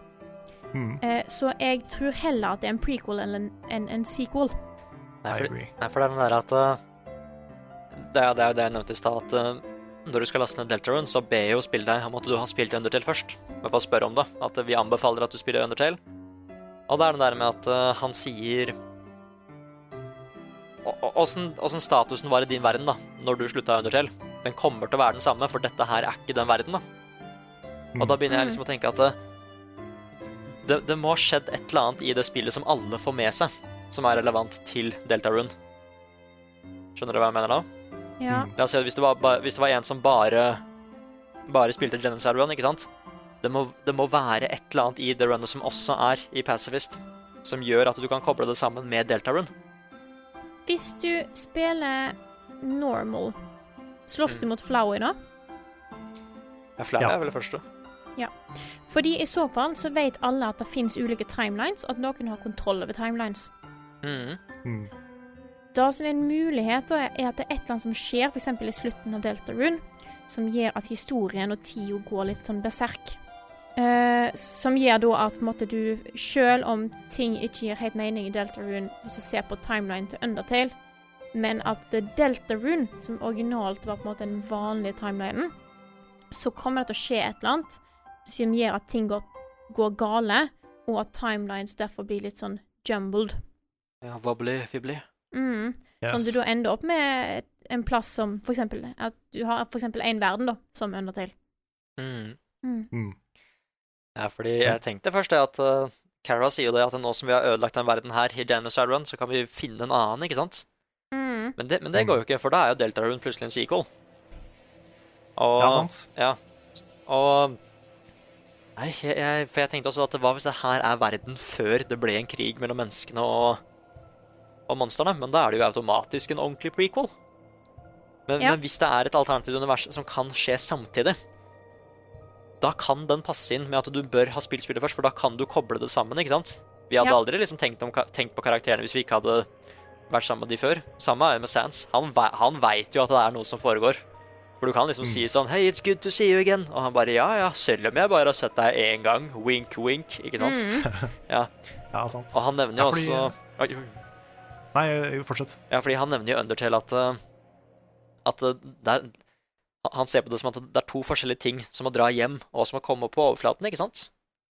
Mm, Eh, så jeg tror heller at det er en prequel enn en, en, en sequel. I Nei, for, agree. nei, for det er den der at eh, Det er det, er jo det jeg nevnte i stad, at eh, når du skal laste ned Deltarune, så ber jeg jo spille deg om at du har spilt Undertale først. Men bare spør om det. At vi anbefaler at du spiller Undertale. Og det er den der med at eh, han sier Å- å- Åssen åssen statusen var i din verden da, når du slutta i Undertale. Den kommer til å være den samme, for dette her er ikke den verden, da. Og da begynner jeg liksom å tenke at eh, det, det må ha skjedd et eller annet i det spillet som alle får med seg, som er relevant til Deltarune. Skjønner du hva jeg mener da? Ja. La oss si at hvis det var, ba- hvis det var en som bare, bare spilte Genocide Run, ikke sant? Det må, det må være et eller annet i The Runner som også er i Pacifist, som gjør at du kan koble det sammen med Deltarune. Hvis du spiller normal, slåss du mot Flowey da? Jeg er flau, Ja. jeg er vel det første. Fordi i så fall så vet alle at det fins ulike timelines, og at noen har kontroll over timelines. Mhm. Mm. Det som er en mulighet, da, er at det er et eller annet som skjer, f.eks. i slutten av Deltarune, som gjør at historien og tida går litt sånn berserk. Eh, som gjør da at på en måte, du, selv om ting ikke gir helt mening i Deltarune, hvis du ser på timeline til Undertale, men at det er Deltarune, som originalt var på en måte den vanlige timelinen, så kommer det til å skje et eller annet som gjør at ting går, går gale, og at timelines derfor blir litt sånn jumbled. Ja, hva blir vi blir? Mm. Sånn Yes. at du da ender opp med et- en plass som for eksempel At du har for eksempel én verden, da, som Undertale. Mhm. Mm. Ja, fordi jeg tenkte først det at eh, Kara sier jo det at nå som vi har ødelagt den verden her i Genocide Run, så kan vi finne en annen, ikke sant? Mm. Men det, men det går jo ikke, for da er jo Deltarune plutselig en sequel. Og, Ja, sant. Og Nei, jeg, jeg, for jeg tenkte også at hva hvis det her er verden før det ble en krig mellom menneskene og, og monstrene? Men da er det jo automatisk en ordentlig prequel. Men, Ja. men hvis det er et alternativt univers som kan skje samtidig, da kan den passe inn med at du bør ha spilt spillet først, for da kan du koble det sammen, ikke sant? Vi hadde Ja. aldri liksom tenkt, om, ka- tenkt på karakterene hvis vi ikke hadde vært sammen med de før. Samme er jo med Sans. Han, ve- han veit jo at det er noe som foregår. For du kan liksom Mm. si sånn Hei, it's good to see you again. Og han bare ja, ja, selv om jeg bare har sett deg én gang. Wink, wink. Ikke sant? Mm. Ja, sant. Og han nevner jo Ja, fordi- også Oi, oi. Nei, eh, fortsett. Ja, fordi han nevner jo Undertale at eh, At eh, det er Han ser på det som at det er to forskjellige ting som å dra hjem, og som å komme på overflaten, ikke sant?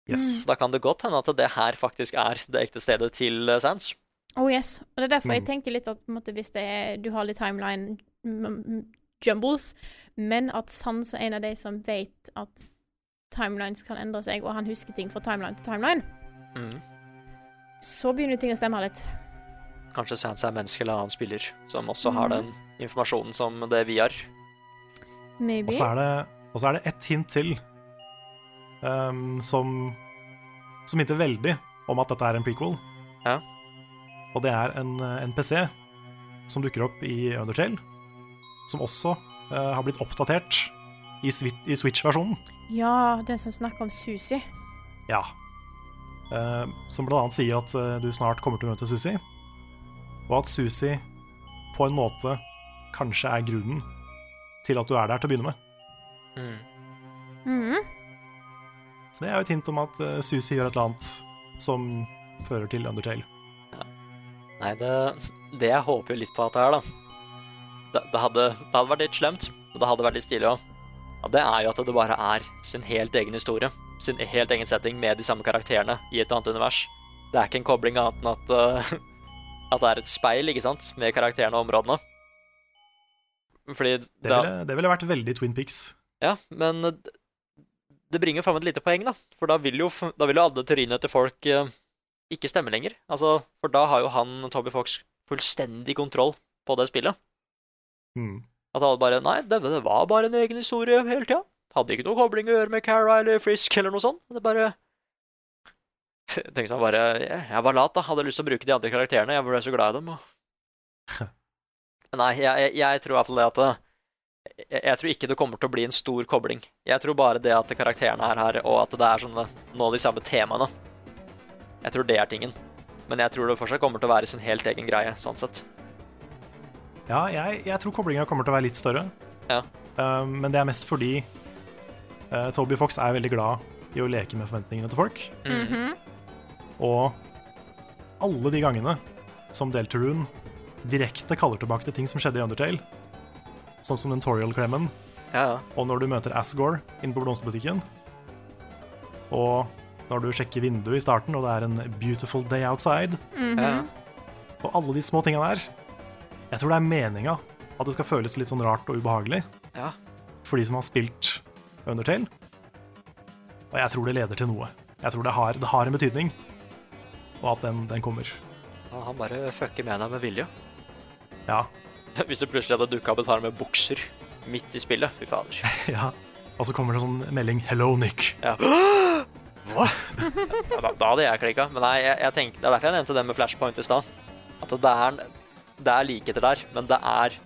Yes. Så da kan det godt hende at det her faktisk er det ekte stedet til eh, Sans. Oh yes. Og det er derfor jeg Mm. tenker litt at på en måte, hvis det er, du har litt timeline m- m- jumbles, men at Sans er en av de som vet at timelines kan endre seg, og han husker ting fra timeline til timeline, Mm. så begynner ting å stemme litt. Kanskje Sans er menneske eller annen spiller som også har den informasjonen som det vi har. Maybe. Og så er det, og så er det ett hint til ehm, som, som hinter veldig om at dette er en prequel. Ja. Og det er en eh, NPC som dukker opp i Undertale, som også eh, har blitt oppdatert i, Swi- i Switch-versjonen. Ja, den som snakker om Susi. Ja. Eh, som blant annet sier at eh, du snart kommer til å møte Susi, og at Susi på en måte kanskje er grunnen til at du er der til å begynne med. Mm. Mm. Mhm. Så det er jo et hint om at eh, Susi gjør et eller annet som fører til Undertale. Nei, det, det jeg håper jo litt på at det er, da det, det, hadde, det hadde vært litt slemt, men det hadde vært litt stilig òg. Ja, det er jo at det bare er sin helt egen historie. Sin helt egen setting med de samme karakterene i et annet univers. Det er ikke en kobling annet enn at, eh, <laughs> at det er et speil, ikke sant, med karakterene og områdene. Fordi Det ville, det ville vært veldig Twin Pics. ja, men eh, d- det bringer fram et lite poeng, da. For da vil jo, f- da vil jo alle teoriene til folk eh, ikke stemme lenger. Altså, for da har jo han, Toby Fox, fullstendig kontroll på det spillet. Mm. At alle bare Nei, det, det var bare en egen historie hele tida. Hadde ikke noe kobling å gjøre med Cara eller Frisk eller noe sånt. Det bare <laughs> Tenkte han bare Jeg jeg var lat, da. Hadde lyst til å bruke de andre karakterene. Jeg ble så glad i dem. <laughs> Og... Nei, jeg, jeg, jeg tror i hvert fall det at det, jeg, jeg tror ikke det kommer til å bli en stor kobling. Jeg tror bare det at karakterene er her, og at det er sånne, nå de samme temaene. Jeg tror det er tingen. Men jeg tror det fortsatt kommer til å være sin helt egen greie, sånn sett. Ja, jeg, jeg tror koblinga kommer til å være litt større. Ja. Eh, men det er mest fordi eh, Toby Fox er veldig glad i å leke med forventningene til folk. Og alle de gangene som Deltarune direkte kaller tilbake til ting som skjedde i Undertale, sånn som den Toriel-klemmen, Ja, ja. og når du møter Asgore inne på blomsterbutikken, og når du sjekker vinduet i starten, og det er en beautiful day outside, Mhm. ja. og alle de små tinga der Jeg tror det er meninga at det skal føles litt sånn rart og ubehagelig Ja. for de som har spilt Undertale. Og jeg tror det leder til noe. Jeg tror det har, det har en betydning, og at den, den kommer. Og Han bare fucker med deg med vilje. Ja. <laughs> <laughs> Hvis det plutselig hadde dukka opp et par med bukser midt i spillet, fy fader. ja. Og så kommer det sånn melding 'Hello, Nick'. Ja, da, da hadde jeg klikka. Men nei, jeg, jeg tenker, det er derfor jeg nevnte det med flashpoint i stad. At det er, det er likheter der, men det er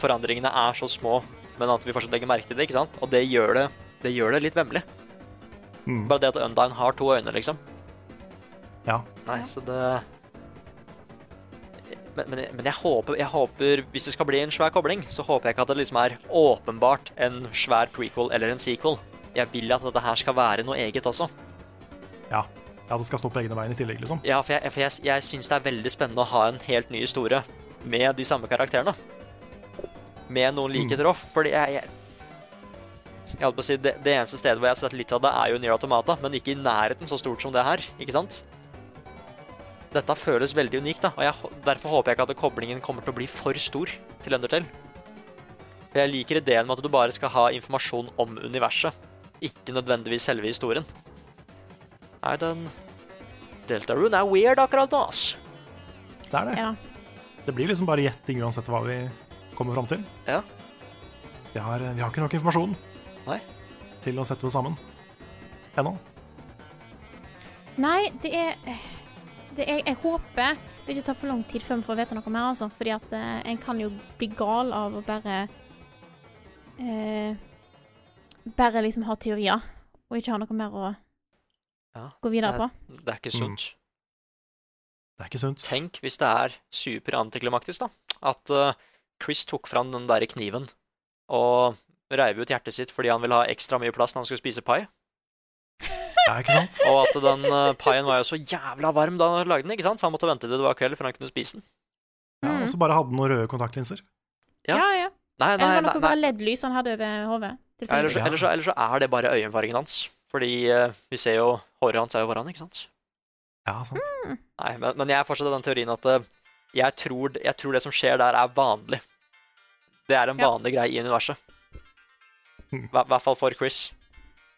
Forandringene er så små, men at vi fortsatt legger merke til det, ikke sant? Og det gjør det, det, gjør det litt vemmelig. Mm. Bare det at Undine har to øyne, liksom. Ja. Nei, så det men, men, jeg- men jeg, håper, jeg håper, hvis det skal bli en svær kobling, så håper jeg ikke at det liksom er åpenbart en svær prequel eller en sequel. Jeg vil at dette her skal være noe eget også. ja. Ja, det skal stå på egne bein i tillegg, liksom. Ja, for jeg, for jeg, jeg syns det er veldig spennende å ha en helt ny historie med de samme karakterene. Med noen likheter òg, fordi jeg, jeg jeg holdt på å si, det, det eneste stedet hvor jeg har sett litt av det, er jo Nier Automata, men ikke i nærheten så stort som det her, ikke sant? Dette føles veldig unikt, da, og jeg, hå- derfor håper jeg ikke at koblingen kommer til å bli for stor til Undertale. For jeg liker ideen med at du bare skal ha informasjon om universet, ikke nødvendigvis selve historien. Nei, den Deltarune er weird akkurat nå, ass. Det er det. Ja. Det blir liksom bare gjetting uansett hva vi kommer fram til. Ja. Vi har, vi har ikke nok informasjon Nei. til å sette det sammen ennå. Nei, det er, det er Jeg håper det ikke tar for lang tid før vi får vite noe mer, altså. Fordi at eh, en kan jo bli gal av å bare eh, Bare liksom ha teorier, og ikke ha noe mer å Ja. gå videre på. Det er ikke sunt. Det er ikke sunt. Tenk hvis det er superantiklimaktisk, da. At eh, Chris tok fram den derre kniven og reiv ut hjertet sitt fordi han ville ha ekstra mye plass når han skulle spise pai. Ja, ikke <laughs> sant? Og at den uh, paien var jo så jævla varm da han lagde den, ikke sant? så han måtte vente til det var kveld før han kunne spise den. Ja, og så bare hadde noen røde kontaktlinser. Ja. Ja, ja. Nei, nei, Eller var det nei. noe nei. bare LED-lys han hadde over hodet? Ja, Ellers, tilfeldigvis? ellers, så- ellers så er det bare øyenfargen hans. Fordi eh, vi ser jo håret hans er jo foran, ikke sant? Ja, sant. Nei, men, men jeg er fortsatt av den teorien at eh, jeg tror, jeg tror det som skjer der, er vanlig. Det er en Ja. vanlig greie i universet. I Mm. hvert fall for Chris.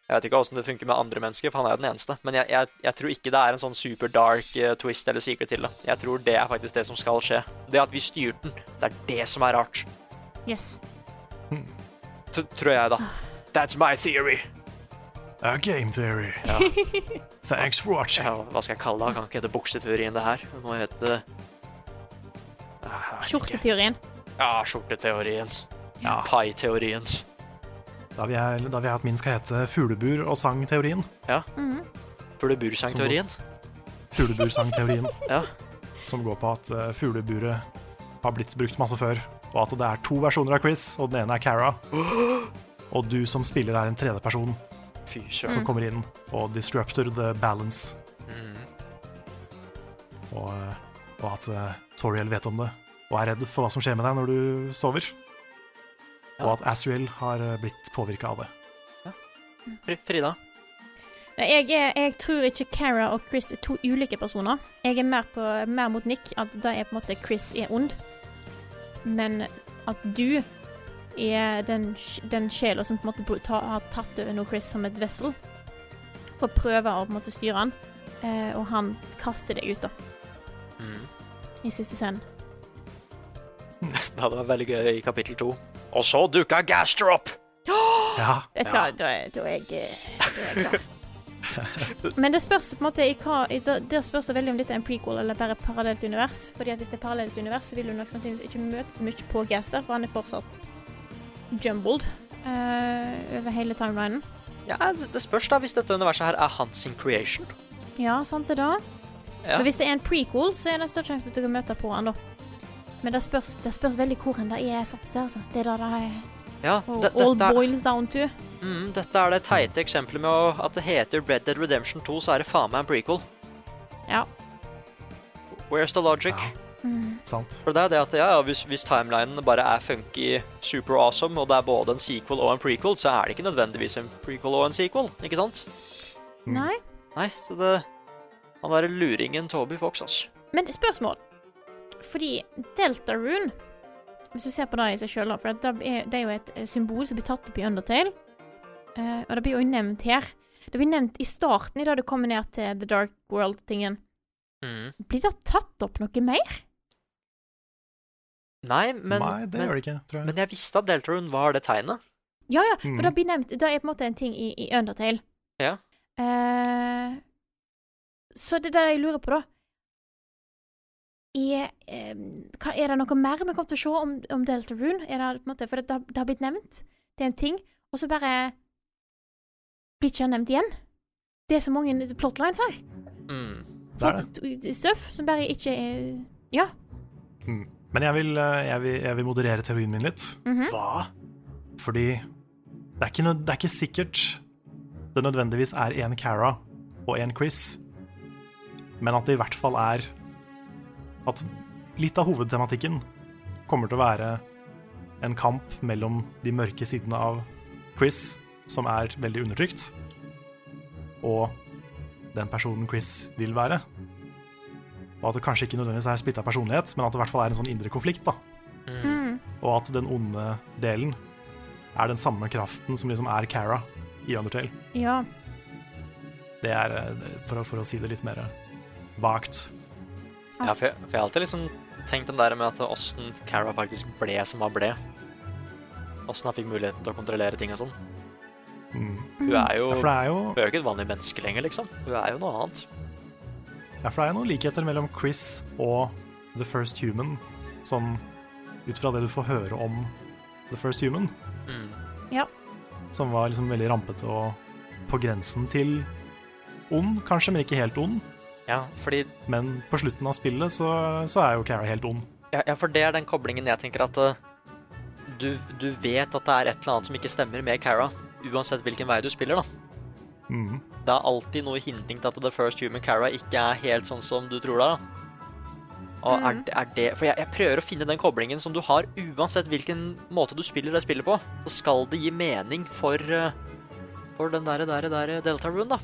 Jeg vet ikke åssen det funker med andre mennesker, for han er jo den eneste. Men jeg, jeg, jeg tror ikke det er en sånn super dark eh, twist eller secret til det. Jeg tror det er faktisk det som skal skje. Det at vi styrte den, det er det som er rart. Yes. T tror jeg, da. That's my theory. A game theory. Thanks for watching. Ja, hva skal jeg kalle det? Kan ikke hete bukseteorien, det her. Det må hete Ah, jeg vet ikke. Skjorteteorien. Ja, skjorteteorien. Ja. Pai-teorien. Mhm. Da vil jeg, da vil jeg at min skal hete Fuglebur og sang-teorien. Ja. Fuglebursang-teorien. Fuglebursangteorien, <laughs> Ja. som går på at eh, fugleburet har blitt brukt masse før, og at det er to versjoner av Chris, og den ene er <gasps> Cara. Og du som spiller er en tredjeperson Fy som søren. kommer inn og disrupter the balance, Mm. og, eh, og at eh, Toriel vet om det og er redd for hva som skjer med deg når du sover. Og Ja. at Asriel har eh, blitt påvirka av det. Fri- Frida? Nei, Jeg, er, jeg tror ikke Cara og Chris er to ulike personer. Jeg er mer, på, mer mot Nick, at da er på en måte Chris er ond. Men at du er den, sj- den sjela som på en måte bru- ta, har tatt over nå Chris som et vessel. For å prøve å på en måte styre han, eh, og han kaster deg ut da, Mm. i siste scenen. Det hadde vært veldig gøy i kapittel to. Og så dukka Gaster opp! Ja, Vet du hva, da, er- da er jeg, eh, da er jeg klar. <laughs> Men det spørs på en måte i hva i, da- Der spørs det veldig om dette er en prequel eller bare parallelt univers. Fordi at hvis det er parallelt univers, så vil hun nok sannsynligvis ikke møte så mye på Gaster, for han er fortsatt jumbled eh, over hele timelinen. Ja, det det spørs da hvis dette universet her er hans sin creation. Ja, sant det da. Ja. Men hvis det er en prequel, så er det større sjanse for at du kan møte på han da. Men det spørs, det spørs veldig hvor hen det er satt seg, altså. Det er da det er, Ja, og det- all dette, er- boils down to. mm, dette er det teite eksempelet med å, at det heter Red Dead Redemption 2, så er det faen meg en prequel. Ja. Where's the logic? Mm. sant. For det er det at ja, ja, hvis, hvis timelinen bare er funky, super awesome, og det er både en sequel og en prequel, så er det ikke nødvendigvis en prequel og en sequel, ikke sant? Mm. Nei? Nei, så det Han derre luringen Toby Fox, altså. Men spørsmål. Fordi Deltarune Hvis du ser på det i seg sjøl, for det er, det er jo et eh, symbol som blir tatt opp i Undertale. Eh, og det blir jo nevnt her. Det blir nevnt i starten, i det du kommer ned til The Dark World-tingen. Mm. Blir det tatt opp noe mer? Nei, men, Nei, det men, gjør det ikke, tror jeg. men jeg visste at Deltarune var det tegnet. Ja, ja, for Mm. det blir nevnt Det er på en måte en ting i, i Undertale. Ja. Eh, så det er det jeg lurer på, da. Er, eh, hva, er det noe mer vi kommer til å se om, om Deltarune? Er det, på en måte, for det, det, har- det har blitt nevnt. Det er en ting. Og så bare blir ikke han nevnt igjen. Det er så mange plotlines her. Mm. Det er det. Støff som bare ikke er Ja. Men jeg vil, eh, jeg vil, jeg vil moderere teorien min litt. mhm. Hva? Fordi det er ikke, nød- det er ikke sikkert det nødvendigvis er én Cara og én Chris, men at det i hvert fall er at litt av hovedtematikken kommer til å være en kamp mellom de mørke sidene av Chris, som er veldig undertrykt, og den personen Chris vil være. Og at det kanskje ikke nødvendigvis er splitta personlighet, men at det i hvert fall er en sånn indre konflikt. da. Mm. Og at den onde delen er den samme kraften som liksom er Cara i Undertale. Ja. Det er, eh, det- for å, for å si det litt mer vagt Ah. Ja, for jeg, for jeg har alltid liksom tenkt den der med at åssen Cara faktisk ble som han ble. Åssen han fikk muligheten til å kontrollere ting og sånn. mm. Hun er jo ja, for det Hun er jo er jo ikke et vanlig menneske lenger, liksom. Hun er jo noe annet. ja, for det er jo noen likheter mellom Chris og The First Human, som ut fra det du får høre om The First Human, Mm. som var liksom veldig rampete og på grensen til ond, kanskje, men ikke helt ond. Ja, fordi Men på slutten av spillet så, så er jo Cara helt ond. ja, ja, for det er den koblingen jeg tenker at eh, du, du vet at det er et eller annet som ikke stemmer med Cara, uansett hvilken vei du spiller, da. Mm. Det er alltid noe hinting til at The First Human Cara ikke er helt sånn som du tror det er, da. Og er, det- er det For jeg, jeg prøver å finne den koblingen som du har, uansett hvilken måte du spiller det spillet på. Så skal det gi mening for, eh, for den derre derre derre Delta Rune, da.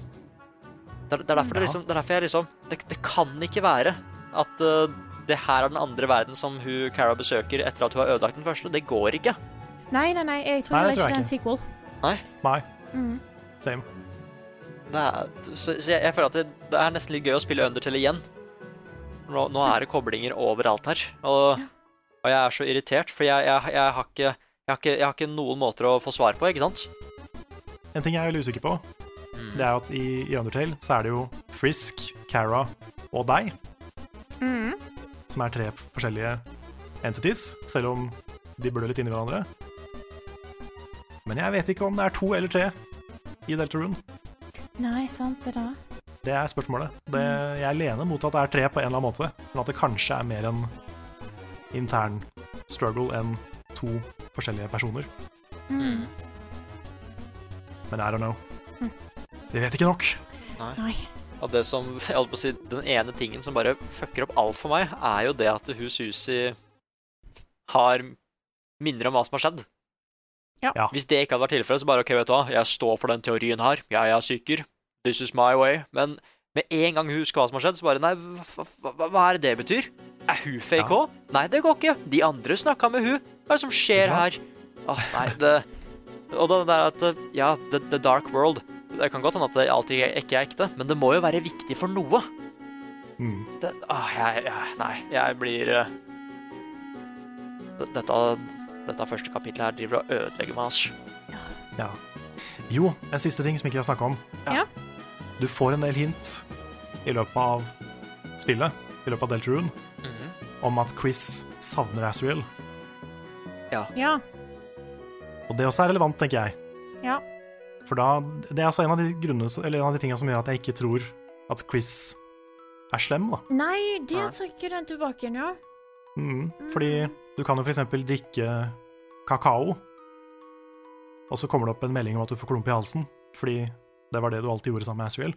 Det er, det er derfor, det, Ja. liksom, det er derfor jeg liksom det, det kan ikke være at eh, det her er den andre verden som hun Cara besøker etter at hun har ødelagt den første. Det går ikke. Nei, nei, nei, jeg tror Nei, heller det tror jeg ikke det er en ikke. sequel. Nei, Mm. same. Det er, så så jeg, jeg føler at det, det er nesten litt gøy å spille Undertale igjen. Nå, nå er det koblinger overalt her. Og, og jeg er så irritert, for jeg, jeg, jeg, har ikke, jeg, har ikke, jeg har ikke noen måter å få svar på, ikke sant? En ting jeg er veldig usikker på, det er jo at i, i Undertale så er det jo Frisk, Cara og deg Mm. som er tre forskjellige entities, selv om de blør litt inni hverandre. Men jeg vet ikke om det er to eller tre i Deltarune. Nei, sant det da. Det er spørsmålet. Det, jeg lener mot at det er tre på en eller annen måte, men at det kanskje er mer en intern struggle enn to forskjellige personer. Mm. Men I don't know. Mm. Vi vet ikke nok. Nei. Og det som, jeg holdt på å si, den ene tingen som bare fucker opp alt for meg, er jo det at hun Susi har minner om hva som har skjedd. Ja. Ja. Hvis det ikke hadde vært tilfellet, så bare OK, vet du hva, jeg står for den teorien her, jeg er syker, this is my way. Men med en gang hun husker hva som har skjedd, så bare nei, hva, hva, hva- hva er det det betyr? Er hun fake Ja. òg? Nei, det går ikke. De andre snakka med hun. Hva er det som skjer Ikke her? sant? Åh, nei, det Og det der at eh, Ja, the, the dark world. Det kan godt hende at det alltid ikke er ekte, men det må jo være viktig for noe. Mm. Det, åh, jeg, jeg Nei, jeg blir eh, d- Dette Dette første kapitlet her driver og ødelegger meg, altså. Ja. Jo, en siste ting som ikke vi har snakka om. Ja. Du får en del hint i løpet av spillet, i løpet av Deltarune, om at Chris savner Asriel. Ja. Og det også er relevant, tenker jeg. Ja. For da, det er altså en av de, grunnene, eller en av de tingene som gjør at jeg ikke tror at Chris er slem. da. Nei, Nei. der trekker den tilbake igjen, ja. Mm. Mhm. Fordi du kan jo f.eks. drikke kakao, og så kommer det opp en melding om at du får klump i halsen, fordi det var det du alltid gjorde sammen med Asriel.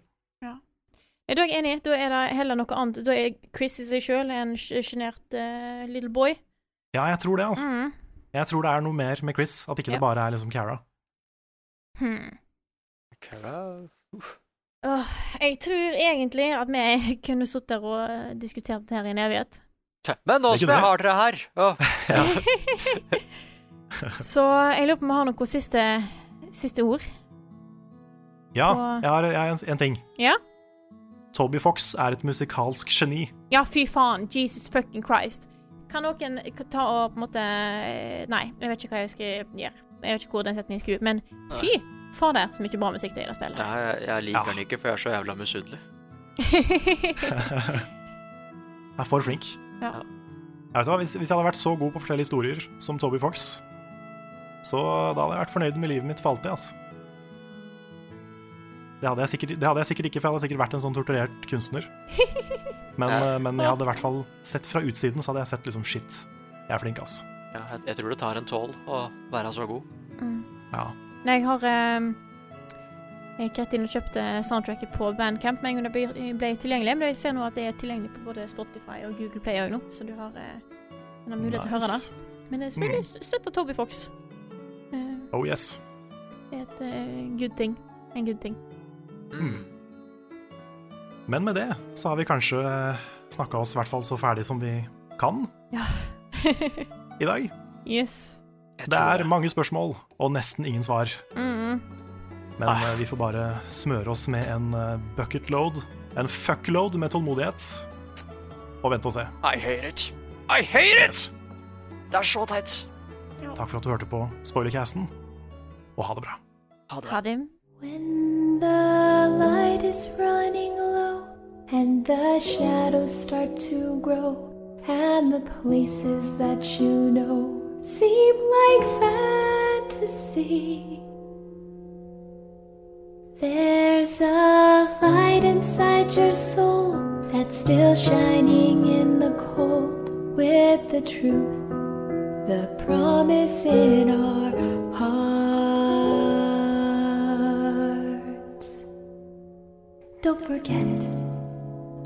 Er du ikke enig? Da er det heller noe annet. Da er Chris i seg sjøl en sj- sjenert eh, little boy. Ja, jeg tror det, altså. Mm. Jeg tror det er noe mer med Chris, at ikke Ja. det bare er liksom Cara. Hmm. Åh, jeg tror egentlig at vi <laughs> kunne sittet der og eh, diskutert det her i en evighet. Men nå Det som kunne jeg jeg. har dere her åh, <laughs> <laughs> Så jeg lurer på om vi har noen siste, siste ord. Ja, Og- jeg har, jeg har en, en ting. Ja? Toby Fox er et musikalsk <laughs> geni. Ja, fy faen. Jesus fucking Christ. Kan noen k- ta og på en måte eh, Nei, jeg vet ikke hva jeg skal gjøre. Jeg vet ikke hvor den setningen skulle Men fy fader, så mye bra musikk det er i det spillet. Nei, jeg, jeg liker Ja. den ikke, for jeg er så jævla misunnelig. er for flink. Ja. Jeg vet hva, hvis, hvis jeg hadde vært så god på å fortelle historier som Toby Fox, så da hadde jeg vært fornøyd med livet mitt for alltid, altså. Det hadde, jeg sikkert, det hadde jeg sikkert ikke, for jeg hadde sikkert vært en sånn torturert <laughs> kunstner. Men, eh, men jeg hadde i hvert fall sett fra utsiden, så hadde jeg sett liksom shit. Jeg er flink, altså. Ja, jeg, jeg tror det tar en tål å være så god. <laughs> Mm. Ja. Nei, jeg har um, Jeg gikk rett inn og kjøpte soundtracket på Bandcamp med en gang det ble, ble tilgjengelig. Men jeg ser nå at det er tilgjengelig på både Spotify og Google Play òg nå, så du har, eh, du har mulighet til å høre det. Nice. Men eh, selvfølgelig st- støtter Toby Fox. Eh, Oh yes. Det er et eh, good thing. En good thing. <laughs> Mm. Men med det så har vi kanskje snakka oss i hvert fall så ferdig som vi kan i dag. yes. Jeg Det tror er mange spørsmål og nesten ingen svar, Mm. men eh, vi får bare smøre oss med en eh, bucket load, en fuckload med tålmodighet, og vente og se. I hate it. I hate it! Det er så teit. Takk for at du hørte på Spoilercasten, og ha det bra. Ha det. Ha det. When the light is running low and the shadows start to grow and the places that you know seem like fantasy. There's a light inside your soul that's still shining in the cold with the truth the promise in our hearts. Don't forget,